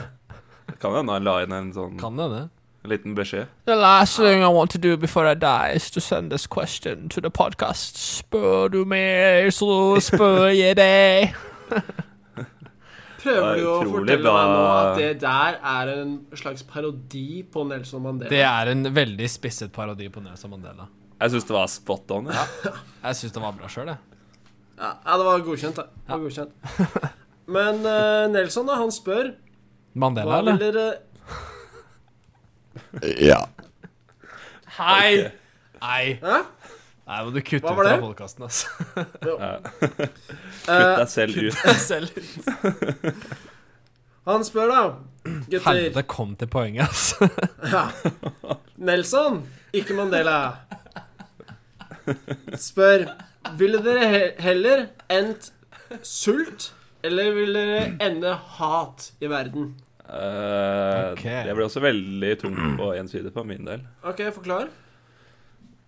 S2: Kan hende han la inn en sånn
S3: Kan det, det.
S2: liten beskjed.
S4: The last thing I want to do before I die is to send this question to the podcast. Spør du meg, så spør jeg deg.
S1: Prøver
S2: Det er
S1: du å
S2: utrolig
S1: fortelle
S2: bra.
S1: meg nå at det der er en slags parodi på Nelson Mandela?
S3: Det er en veldig spisset parodi på Nelson Mandela.
S2: Jeg syns det var spot on. Ja.
S3: Jeg syns det var bra sjøl, jeg.
S1: Ja, ja, det var godkjent, da. Det var godkjent. Men eh, Nelson, da, han spør
S3: Mandela,
S1: Hva vil
S3: eller?
S1: dere
S3: Hei! Nei.
S1: Hæ?
S3: Nei, må du kutte
S1: Hva
S3: ut
S1: var
S3: fra
S1: det?
S3: podkasten, altså.
S2: Kutt
S1: Eh,
S2: deg selv ut.
S3: Selv.
S1: Han spør, da. Gutter.
S3: Helvete, kom til poenget, altså.
S1: Nelson, ikke Mandela, spør Ville dere he- heller endt sult, eller ville dere ende hat i verden?
S2: Eh,
S3: Ok.
S2: Det ble også veldig tungt på én side for min del.
S1: OK, forklar.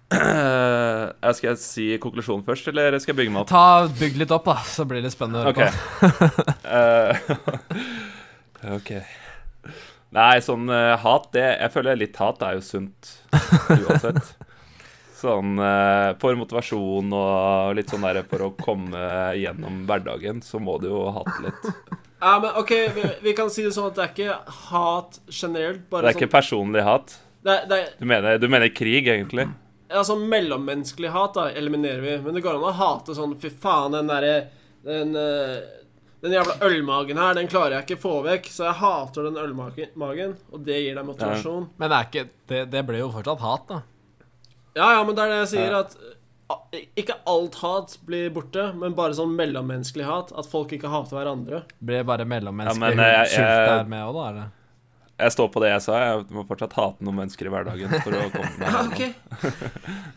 S2: Eh, jeg skal jeg si konklusjonen først, eller skal jeg bygge meg opp?
S3: Ta, Bygg litt opp, da, så blir det spennende å høre
S2: OK. Eh, ok. Nei, sånn eh, hat det, Jeg føler litt hat er jo sunt uansett. Sånn eh, for motivasjon og litt sånn der for å komme gjennom hverdagen, så må du jo hate litt.
S1: Ja, men OK, vi, vi kan si det sånn at det er ikke hat generelt.
S2: Det
S1: Bare
S2: er ikke personlig hat.
S1: sånn det er, det er,
S2: Du mener, du mener krig, egentlig?
S1: Altså, mellommenneskelig hat da, eliminerer vi, men det går an å hate sånn Fy faen, den derre den, eh, den jævla ølmagen her, den klarer jeg ikke få vekk, så jeg hater den ølmagen, magen, og det gir deg motivasjon.
S3: Men det, er ikke, det, det blir jo fortsatt hat, da.
S1: Ja, ja, men det er det jeg sier, at ah, ikke alt hat blir borte, men bare sånn mellommenneskelig hat. At folk ikke hater hverandre.
S3: Blir bare mellommenneskelig
S2: Ja, men,
S3: ja,
S2: eh,
S3: skylt
S2: jeg-
S3: der med òg, da? Eller?
S2: Jeg står på det jeg sa. Jeg må fortsatt hate noen mennesker i hverdagen. for å komme meg
S1: Ja,
S2: gjennom.
S1: ok.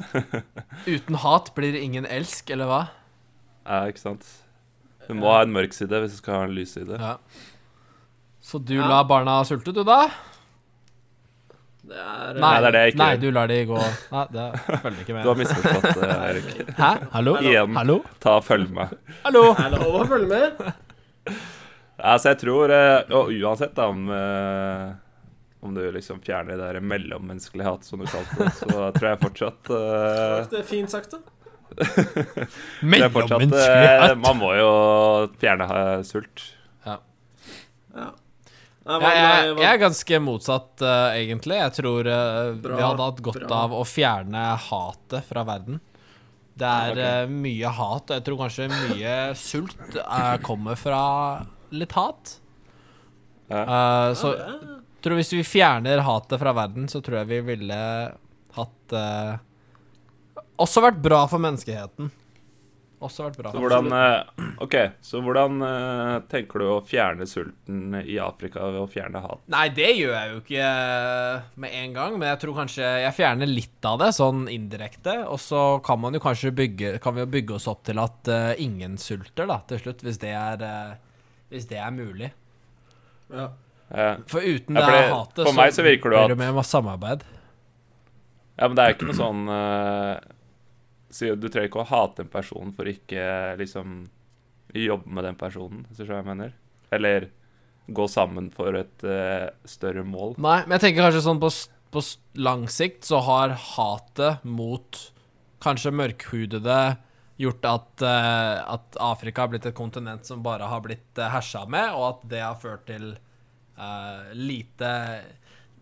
S3: Uten hat blir det ingen elsk, eller hva?
S2: Ja, ikke sant? Du må ha en mørk side hvis du skal ha en lys side.
S3: Ja. Så du
S1: Ja.
S3: lar barna sulte, du, da?
S1: Det er eh,
S2: Nei, det er det jeg ikke
S3: Nei,
S2: gjør.
S3: du lar de gå Nei, det følger ikke
S2: Du har
S3: med.
S2: misforstått, eh, Erik.
S3: Hæ? Hallo?
S2: Igjen.
S3: Hallo?
S2: Ta og følg meg.
S3: Hallo?
S1: er det lov å følge med?
S2: Altså, jeg tror eh, Og uansett da, om, eh, om du liksom fjerner det der mellommenneskelige hat, som du kalte det, så tror jeg fortsatt eh,
S1: Det er fint sagt, da.
S2: det er fortsatt eh,
S3: Mellommenneskelighet!
S2: Man må jo fjerne eh, sult.
S1: Nei, hva-
S3: Jeg, jeg,
S1: nei, eh, hva-
S3: jeg er ganske motsatt, eh, egentlig. Jeg tror eh,
S1: Bra,
S3: vi hadde hatt godt
S1: bra.
S3: av å fjerne hatet fra verden. Det er eh, mye hat, og jeg tror kanskje mye sult eh, kommer fra litt hat. Eh, så
S1: Ja, det er-
S3: tror hvis vi fjerner hatet fra verden, så tror jeg vi ville hatt eh, Også vært bra for menneskeheten. Også vært bra.
S2: Så hvordan eh, OK, så hvordan eh, tenker du å fjerne sulten i Afrika ved å fjerne hat?
S3: Nei, det gjør jeg jo ikke eh, med en gang, men jeg tror kanskje jeg fjerner litt av det, sånn indirekte. Og så kan man jo kanskje bygge, kan vi jo bygge oss opp til at eh, ingen sulter, da, til slutt. Hvis det er, eh, hvis det er mulig.
S1: ja.
S2: Eh,
S3: For uten
S2: Ja,
S3: det,
S2: for det-
S3: hatet,
S2: for meg så virker det jo
S3: blir det mer samarbeid.
S2: Ja, men det er jo ikke noe sånn eh, si- Du trenger ikke å hate en person for ikke eh, liksom jobbe med den personen, hvis du skjønner hva jeg mener? Eller gå sammen for et eh, større mål.
S3: Nei, men jeg tenker kanskje sånn på, s- på s- lang sikt så har hatet mot kanskje mørkhudede gjort at, eh, at Afrika har blitt et kontinent som bare har blitt eh, hersa med, og at det har ført til eh, lite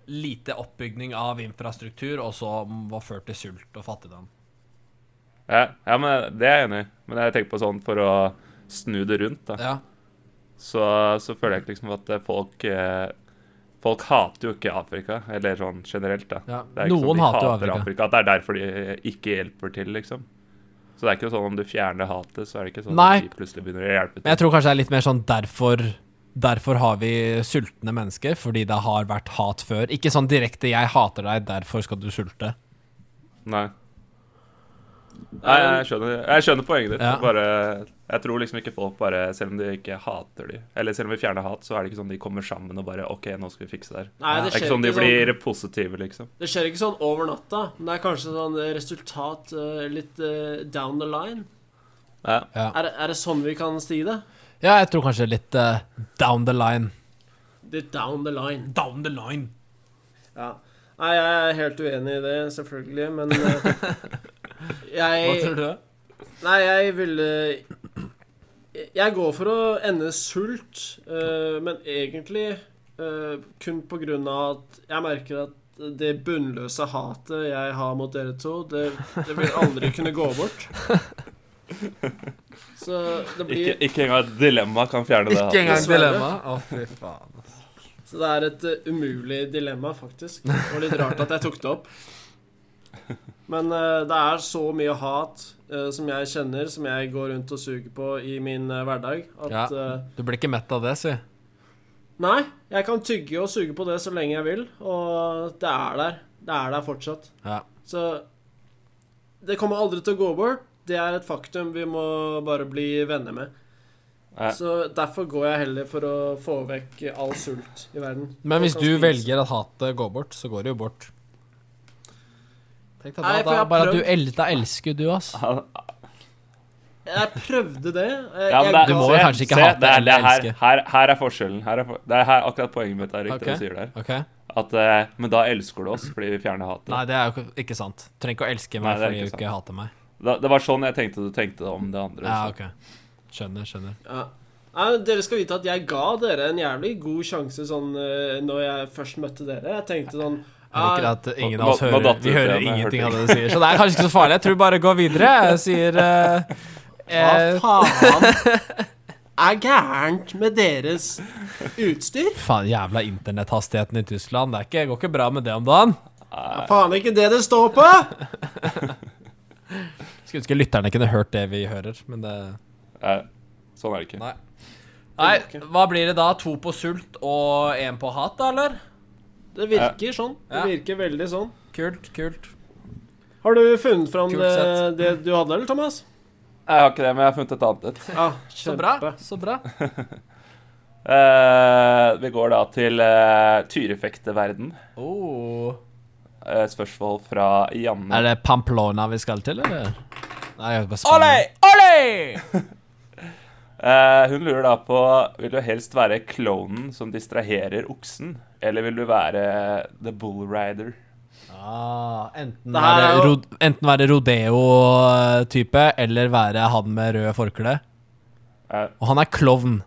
S3: Lite oppbygning av infrastruktur, og så var ført til sult og fattigdom.
S2: Ja, ja, men det er jeg enig i. Men jeg tenker på sånn for å snu det rundt, da.
S3: Ja.
S2: Så, så føler jeg ikke liksom at eh, folk eh, Folk hater jo ikke Afrika, eller sånn generelt, da.
S3: Ja,
S2: Det er ikke
S3: noen
S2: sånn de
S3: hater jo Afrika.
S2: At det er derfor de ikke hjelper til, liksom. Så det er ikke sånn om du fjerner hatet, så er det ikke sånn
S3: Nei.
S2: at de plutselig begynner å hjelpe til.
S3: Men jeg tror kanskje det er litt mer sånn derfor Derfor har vi sultne mennesker, fordi det har vært hat før. Ikke sånn direkte 'jeg hater deg, derfor skal du sulte'.
S2: Nei. Nei, jeg skjønner, jeg skjønner poenget ditt.
S3: Um, Ja.
S2: Bare, jeg tror liksom ikke folk bare Selv om de ikke hater de Eller selv om vi fjerner hat, så er det ikke sånn de kommer sammen og bare OK, nå skal vi fikse det her.
S1: Nei, det
S2: Det er
S1: skjer
S2: ikke sånn de
S1: sånn-
S2: blir positive, liksom.
S1: Det skjer ikke sånn over natta, men det er kanskje sånn resultat eh, litt eh, down the line.
S2: Ja.
S1: Er, det- er det sånn vi kan si det?
S3: Ja, jeg tror kanskje litt eh, down the line.
S1: Litt down the line.
S3: Down the line.
S1: Ja. Nei, jeg er helt uenig i det, selvfølgelig, men eh,
S3: Hva
S1: jeg
S3: tror du?
S1: Nei, jeg ville Jeg går for å ende sult, eh, men egentlig eh, kun på grunn av at jeg merker at det bunnløse hatet jeg har mot dere to, det, det vil aldri kunne gå bort. Så det
S2: Ikke,
S1: blir
S2: ikke engang et dilemma kan fjerne det.
S3: Ikke engang
S1: Dessverre.
S3: dilemma. Å, fy faen.
S1: Så det er et eh, umulig dilemma, faktisk. Det var litt rart at jeg tok det opp. Men eh, det er så mye hat eh, som jeg kjenner, som jeg går rundt og suger på i min eh, hverdag, at
S3: Ja.
S1: eh,
S3: Du blir ikke mett av det, si.
S1: Nei, jeg kan tygge og suge på det så lenge jeg vil, og det er der. Det er der fortsatt.
S3: Ja.
S1: Så det kommer aldri til å gå bort. Det er et faktum vi må bare bli venner med.
S2: Ja.
S1: Så derfor går jeg heller for å få vekk all sult i verden.
S3: Men hvis
S1: Folk
S3: du
S1: kan spise.
S3: velger at hatet går bort, så går det jo bort. Tenk deg da,
S1: Nei, for jeg
S3: da,
S1: har
S3: bare at du
S1: prøvd.
S3: el da elsker du, ass.
S2: Han-
S1: Jeg prøvde det. Jeg,
S2: Ja,
S1: jeg
S2: men det-
S3: Du må
S1: ga-
S3: jo
S2: se-
S3: kanskje ikke
S2: se,
S3: hate
S2: det er-
S3: eller
S2: det er her-
S3: elske.
S2: Her, her er forskjellen. Her er, for- det er her, akkurat poenget mitt er riktig,
S3: Ok.
S2: du sier der.
S3: Ok?
S2: At, eh, men da elsker du oss fordi vi fjerner hatet.
S3: Nei, det er jo ikke- ikke sant. Du trenger ikke å elske
S2: Nei,
S3: meg
S2: det er
S3: fordi du
S2: ikke
S3: ikke hater meg.
S2: Da, det var sånn jeg tenkte du tenkte om det andre.
S3: Ja,
S2: så.
S3: ok. Skjønner, skjønner.
S1: Ja. Nei, men dere skal vite at jeg ga dere en jævlig god sjanse sånn eh, når jeg først møtte dere. Jeg tenkte sånn
S3: Jeg liker
S1: ja,
S3: at ingen
S2: Nå-
S3: av oss
S2: nå
S3: hører
S2: datt det
S3: Vi
S2: ut
S3: hører
S2: igjen, jeg
S3: ingenting
S2: hørte
S3: av det du sier, så det er kanskje ikke så farlig. Jeg tror bare gå videre. Jeg sier eh, eh,
S1: Hva faen er gærent med deres utstyr?
S3: Faen, jævla internetthastigheten i Tyskland. Det er ikke, går ikke bra med det om dagen.
S1: Det er faen ikke det det står på!
S3: Skulle ønske lytterne kunne hørt det vi hører, men det
S2: Eh, sånn er det ikke.
S3: Nei. hva blir det da? To på sult og én på hat, da, eller?
S1: Det virker sånn. Det
S3: Ja.
S1: virker veldig sånn.
S3: Kult, kult.
S1: Har du funnet fram
S3: Kult
S1: det,
S3: sett.
S1: det du hadde, eller, Thomas?
S2: Jeg har ikke det, men jeg har funnet et annet et.
S1: Ja,
S3: Så bra. så bra.
S2: Eh, vi går da til uh, tyrefekteverden.
S3: Oh.
S2: Eh, spørsmål fra Janne.
S3: Er det Pamplona vi skal til, eller? Nei, jeg er bare
S4: Olé!
S3: Spania.
S4: Olé!
S2: Eh, hun lurer da på Vil du helst være klonen som distraherer oksen, eller vil du være the bull rider?
S3: Ah, enten,
S1: Det her
S3: være
S1: er jo-
S3: ro- enten være rodeo-type eller være han med rød forkle.
S2: Ja.
S3: Og han er klovn.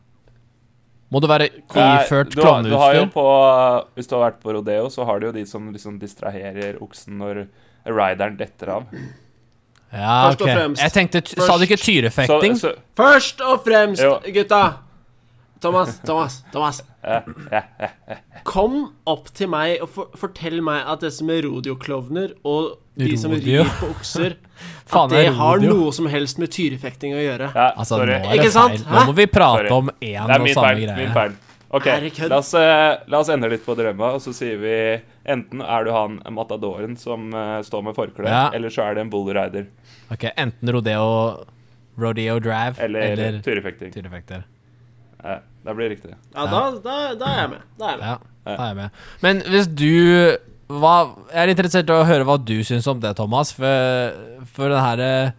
S3: Må du være
S2: Nei,
S3: iført
S2: du har- Du har jo
S3: klovneutstyr?
S2: på, eh, hvis du har vært på rodeo, så har du jo de som liksom distraherer oksen når rideren detter av.
S3: Ja,
S1: Først og
S3: ok.
S1: fremst.
S3: Jeg tenkte, ty- Sa du ikke
S2: Så,
S3: tyrefekting?
S2: så
S1: Først og fremst,
S2: Jo.
S1: gutta Thomas, Thomas, Thomas.
S2: ja, ja, ja.
S1: Kom opp til meg og for fortell meg at det som er rodeoklovner og de som
S3: Rodeo?
S1: rir på okser,
S3: Faen,
S1: at det
S3: er
S1: har
S3: rodeo?
S1: noe som helst med tyrefekting å gjøre.
S2: ja
S3: Altså,
S2: sorry.
S3: nå er det
S1: Ikke sant?
S3: feil. Nå må vi prate
S2: Sorry.
S3: om én
S2: Det er
S3: og
S2: min
S3: samme
S2: feil.
S3: greie.
S2: Min feil. OK,
S1: Er det kødd?
S2: la oss, eh, la oss endre litt på drømma, og så sier vi enten er du han matadoren som eh, står med forkle,
S3: Ja.
S2: eller så er det en bull rider,
S3: Ok, enten rodeo Rodeo drive
S2: eller,
S3: eller,
S2: tyrefekting.
S3: tyrefekter.
S2: Ja, det blir riktig.
S1: Ja, da, da, da er jeg med. Da er jeg med.
S3: Ja, da er jeg med. Men hvis du hva, Jeg er interessert i å høre hva du syns om det, Thomas. For, for den her eh,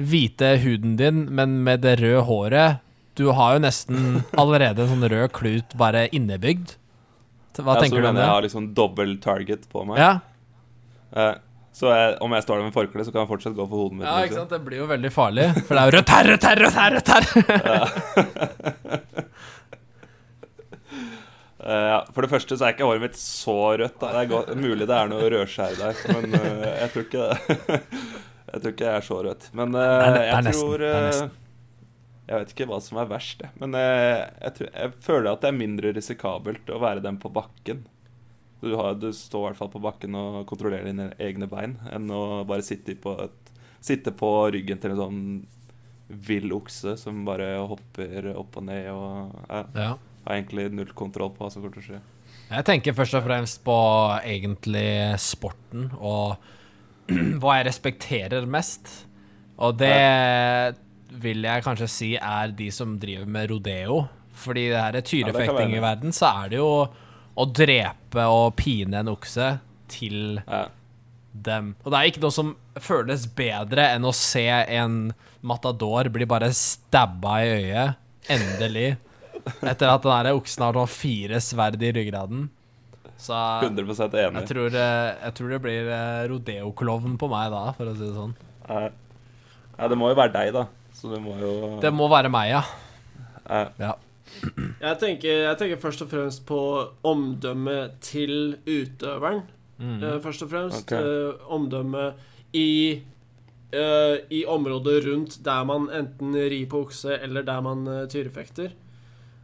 S3: hvite huden din, men med det røde håret Du har jo nesten allerede en sånn rød klut bare innebygd. T- Hva
S2: Ja, så
S3: tenker du om
S2: mener
S3: det?
S2: Jeg har liksom dobbel target på meg.
S3: Ja.
S2: Eh, så jeg, om jeg står der med forkle, så kan jeg fortsatt gå for hodet mitt.
S3: ja, ikke
S2: liksom.
S3: sant? Det blir jo veldig farlig. For det er jo rødt her, rødt her, rødt her! rødt her
S2: Eh, ja, for det første så er ikke håret mitt så rødt. Da. Det er godt, mulig det er noe rødskjær der, men eh, jeg tror ikke det. jeg tror ikke jeg er så rødt. Men eh,
S3: er ne- det er
S2: jeg
S3: nesten,
S2: tror
S3: det er
S2: eh,
S3: nesten.
S2: Jeg vet ikke hva som er verst, jeg. men eh, jeg, tror, jeg føler at det er mindre risikabelt å være den på bakken. Du, har, du står i hvert fall på bakken og kontrollerer dine egne bein, enn å bare sitte på, et, sitte på ryggen til en sånn vill okse som bare hopper opp og ned og ja.
S3: Ja.
S2: Har egentlig null kontroll på hva som kommer til å skje.
S3: Jeg tenker først og fremst på egentlig sporten og hva jeg respekterer mest. Og det vil jeg kanskje si er de som driver med rodeo. Fordi det her er
S2: det kan være
S3: tyrefekting
S2: det.
S3: i verden, så er det jo å drepe og pine en okse til
S2: Ja.
S3: dem. Og det er ikke noe som føles bedre enn å se en matador bli bare stabba i øyet. Endelig. Etter at den der oksen har sånn fire sverd i ryggraden. Så
S2: 100
S3: jeg
S2: enig.
S3: tror, eh, jeg tror det blir eh, rodeoklovn på meg da, for å si det sånn.
S2: Ja. Ja, det må jo være deg, da. Så du må jo
S3: Det må være meg, ja.
S2: Ja.
S1: Jeg tenker, jeg tenker først og fremst på omdømmet til utøveren.
S3: Mm.
S1: eh, først og fremst.
S2: Ok.
S1: Eh, omdømmet i eh, I området rundt der man enten rir på okse, eller der man eh, tyrefekter.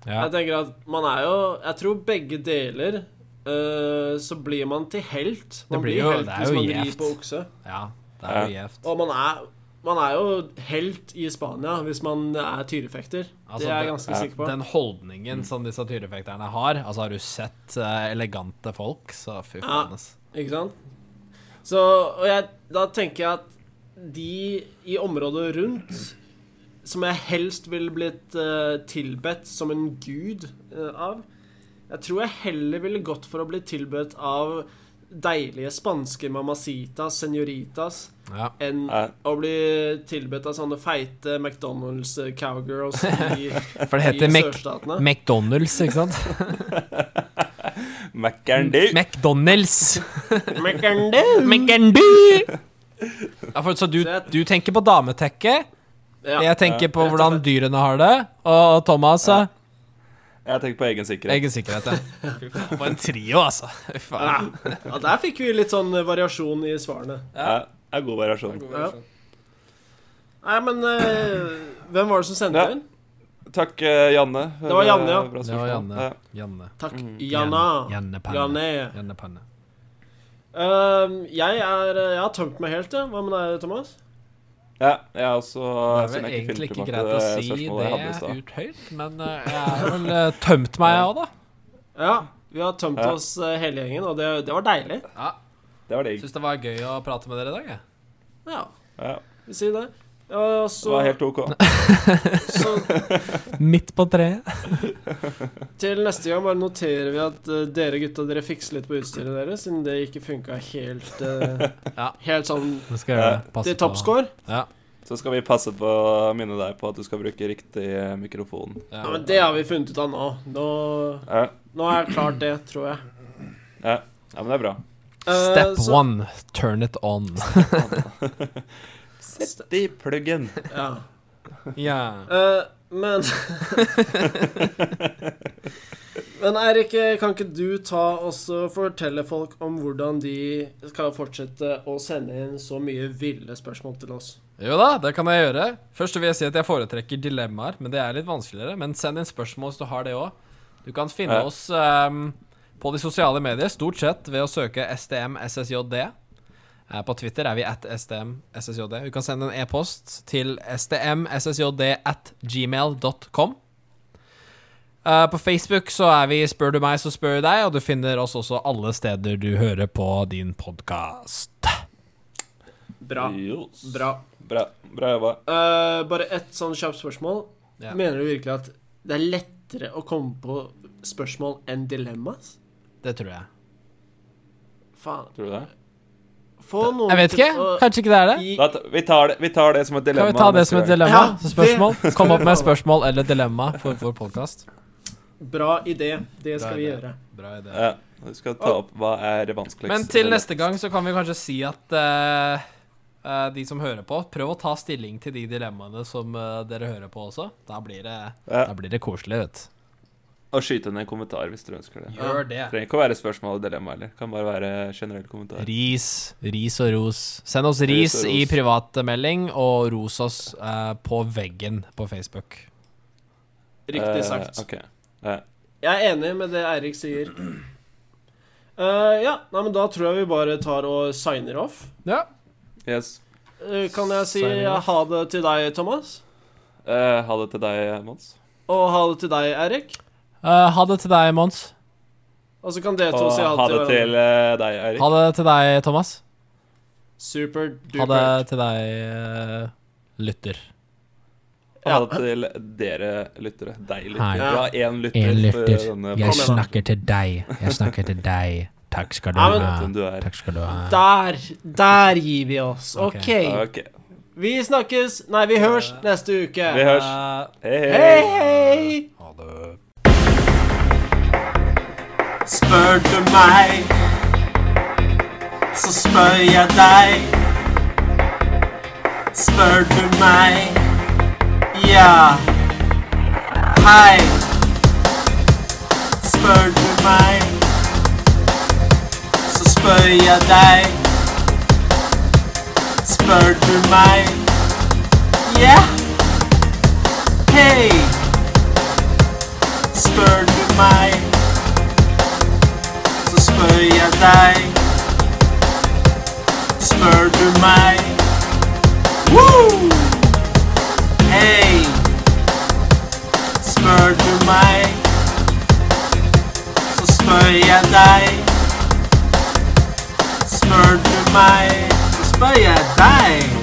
S3: ja.
S1: Jeg tenker at man er jo Jeg tror begge deler eh, så blir man til helt. Man
S3: blir
S1: blir,
S3: jo-
S1: helt
S3: det er
S1: hvis
S3: jo
S1: man rir
S3: gjevt.
S1: på okse.
S3: Ja, det er jo
S2: Ja.
S3: gjevt.
S1: Og man er, man er jo helt i Spania hvis man er tyrefekter. det er
S3: Altså, det-
S1: jeg ganske
S2: ja.
S1: sikker på.
S3: Den holdningen som disse tyrefekterne har Altså, har du sett eh, elegante folk, så fy
S1: Ja.
S3: faen, ass.
S1: Ikke sant? Så og jeg, da tenker jeg at de i området rundt, som jeg helst ville blitt eh, tilbedt som en gud eh, av Jeg tror jeg heller ville gått for å bli tilbedt av deilige spanske mamacitas, senoritas,
S3: Ja.
S1: enn
S2: Ja.
S1: å bli tilbedt av sånne feite McDonald's-cowgirls i,
S3: For det
S1: i
S3: heter Mac
S1: sørstatene.
S3: McDonald's, ikke sant?
S2: Mækkern
S3: Mm,
S2: du!
S3: McDonald's!
S1: McDonald's!
S3: McDonald's! Ja, for, så du,
S1: Så jeg-
S3: du tenker på dametekke,
S1: Ja.
S3: jeg tenker
S1: rett
S3: på
S1: og
S3: hvordan
S1: slett.
S3: dyrene har det, og Thomas eh, ja.
S2: Jeg tenker på egen sikkerhet.
S3: Egen sikkerhet, ja. Fy faen, For en trio, altså. Fy
S1: Ja.
S3: faen.
S1: ja, der fikk vi litt sånn eh, variasjon i svarene.
S2: Ja, det er god variasjon.
S1: Ja. Nei, men eh, hvem var det som sendte
S2: Ja.
S1: inn?
S2: Takk, eh, Janne. Eh,
S1: Det var Janne, ja.
S2: Bra
S3: Det
S2: spørsmål.
S3: var Janne.
S2: Ja.
S3: Janne.
S1: Takk,
S2: Mm.
S1: Janna.
S3: Janne Panne.
S1: Janne.
S3: Janne Panne.
S1: Ehm, jeg, er, jeg har tømt meg helt, jeg. Hva med deg, Thomas?
S2: Ja, jeg er også
S3: Det er
S2: siden
S3: vel
S2: jeg
S3: egentlig ikke
S2: filter
S3: greit å
S2: tilbake det
S3: si
S2: spørsmålet jeg hadde i
S3: det
S2: stad.
S3: ut høyt, men eh, jeg har vel eh, tømt meg, jeg òg, da.
S1: Ja, vi har tømt
S2: Ja.
S1: oss eh, hele gjengen, og det, det var deilig.
S3: Ja,
S2: Det var digg.
S3: Syns det var gøy å prate med dere i dag, jeg.
S1: Ja,
S2: Ja,
S1: vi sier det. Og
S2: det
S1: så,
S2: var helt OK.
S1: så
S3: Midt på treet.
S1: til neste gang bare noterer vi at eh, dere gutta dere fikser litt på utstyret deres, siden det ikke funka helt, eh,
S3: Ja.
S1: helt sånn
S3: Nå skal jeg gjøre det.
S1: til
S3: Passe på.
S1: toppscore.
S3: Ja.
S2: Så skal vi passe på å minne deg på at du skal bruke riktig eh, mikrofon.
S1: Ja, men det har vi funnet ut av nå. Nå,
S2: Ja,
S1: nå er jeg klart det, tror jeg.
S2: ja. ja men det er bra.
S1: Eh,
S3: Step
S1: så-
S3: one, turn it on.
S2: Sett i pluggen.
S1: Ja.
S3: Ja.
S1: Eh, men Men Eirik, kan ikke du ta og så fortelle folk om hvordan de skal fortsette å sende inn så mye ville spørsmål til oss?
S3: Jo da, det kan jeg gjøre. Først vil jeg si at jeg foretrekker dilemmaer, men det er litt vanskeligere. Men send inn spørsmål hvis du har det òg. Du kan finne
S2: Ja.
S3: oss ehm, på de sosiale medier, stort sett ved å søke stmssjd. Eh, På Twitter er vi at stmssjd. Du kan sende en e-post til stmssjd at gmail.com. Eh, på Facebook så er vi Spør du meg, så spør jeg deg, og du finner oss også alle steder du hører på din podkast.
S1: Bra.
S2: Jos.
S1: Bra.
S2: Bra. Bra jobba.
S1: Eh, bare ett sånn kjapt spørsmål.
S3: Ja.
S1: Mener du virkelig at det er lettere å komme på spørsmål enn dilemmas?
S3: Det tror jeg.
S1: Faen.
S2: Tror du det?
S1: Få noen
S3: Jeg vet
S1: til
S3: ikke.
S1: å-
S3: Kanskje ikke det er det?
S1: gi-
S2: Da, t- vi, tar det vi tar det som et dilemma.
S3: Kan vi ta det
S2: neste
S3: som et
S2: gang.
S3: dilemma?
S1: Ja,
S3: som spørsmål? Kom opp med spørsmål eller dilemma for vår podkast.
S1: Bra idé. Det skal
S3: Bra
S1: vi
S3: idé.
S1: gjøre.
S2: Ja, vi skal ta opp hva er det vanskeligste.
S3: Men til neste gang så kan vi kanskje si at eh, eh, de som hører på, prøv å ta stilling til de dilemmaene som eh, dere hører på også. Da blir det,
S2: Ja.
S3: da blir det koselig, vet du.
S2: Og skyte ned en kommentar hvis dere ønsker det.
S3: Gjør det.
S2: Det trenger ikke å være spørsmål og dilemma heller. Det Kan bare være generell kommentar.
S3: Ris, ris og ros. Send oss ris,
S2: Ris og ros.
S3: i privatmelding, og ros oss eh, på veggen på Facebook.
S1: Riktig
S2: Eh,
S1: sagt.
S2: ok. Ja.
S1: Jeg er enig med det Eirik sier. Eh, ja, nei, men da tror jeg vi bare tar og signer off.
S3: Ja.
S2: Yes.
S1: Eh, kan jeg si
S3: Signing off.
S1: ha det til deg, Thomas?
S2: Eh, ha det til deg, Mons.
S1: Og ha det til deg, Eirik?
S3: Eh, ha det til deg, Mons.
S1: Og så kan dere to
S2: Og
S1: si
S2: ha det til eh, deg, Eirik.
S3: Ha det til deg, Thomas.
S1: Super
S3: Ha
S1: duper.
S3: det til deg, eh, lytter.
S2: Ha det til dere lyttere. Deg
S3: Hei.
S2: lytter. Ja, én lytter.
S3: Én
S2: til
S3: lytter.
S2: denne
S3: Jeg
S2: podcasten.
S3: snakker til deg. Jeg snakker til deg. Takk skal du
S1: Ja, men-
S3: ha.
S2: Hvem du er.
S3: Takk skal du ha.
S1: Der! Der gir vi oss.
S3: Ok.
S1: OK.
S3: Eh.
S2: Ok.
S1: Vi snakkes Nei, vi hørs neste uke.
S2: Vi hørs. Hei, hei.
S1: Hei, hei!
S3: Ha det.
S1: Spør du meg, så spør jeg deg. Spør du meg, ja. Hei. Spør du meg, så spør jeg deg. Spør du meg, ja. Hei. Spør du meg så spør jeg deg. Spør du meg? Woo! Hei! Spør du meg, så spør jeg deg. Spør du meg, så spør jeg deg.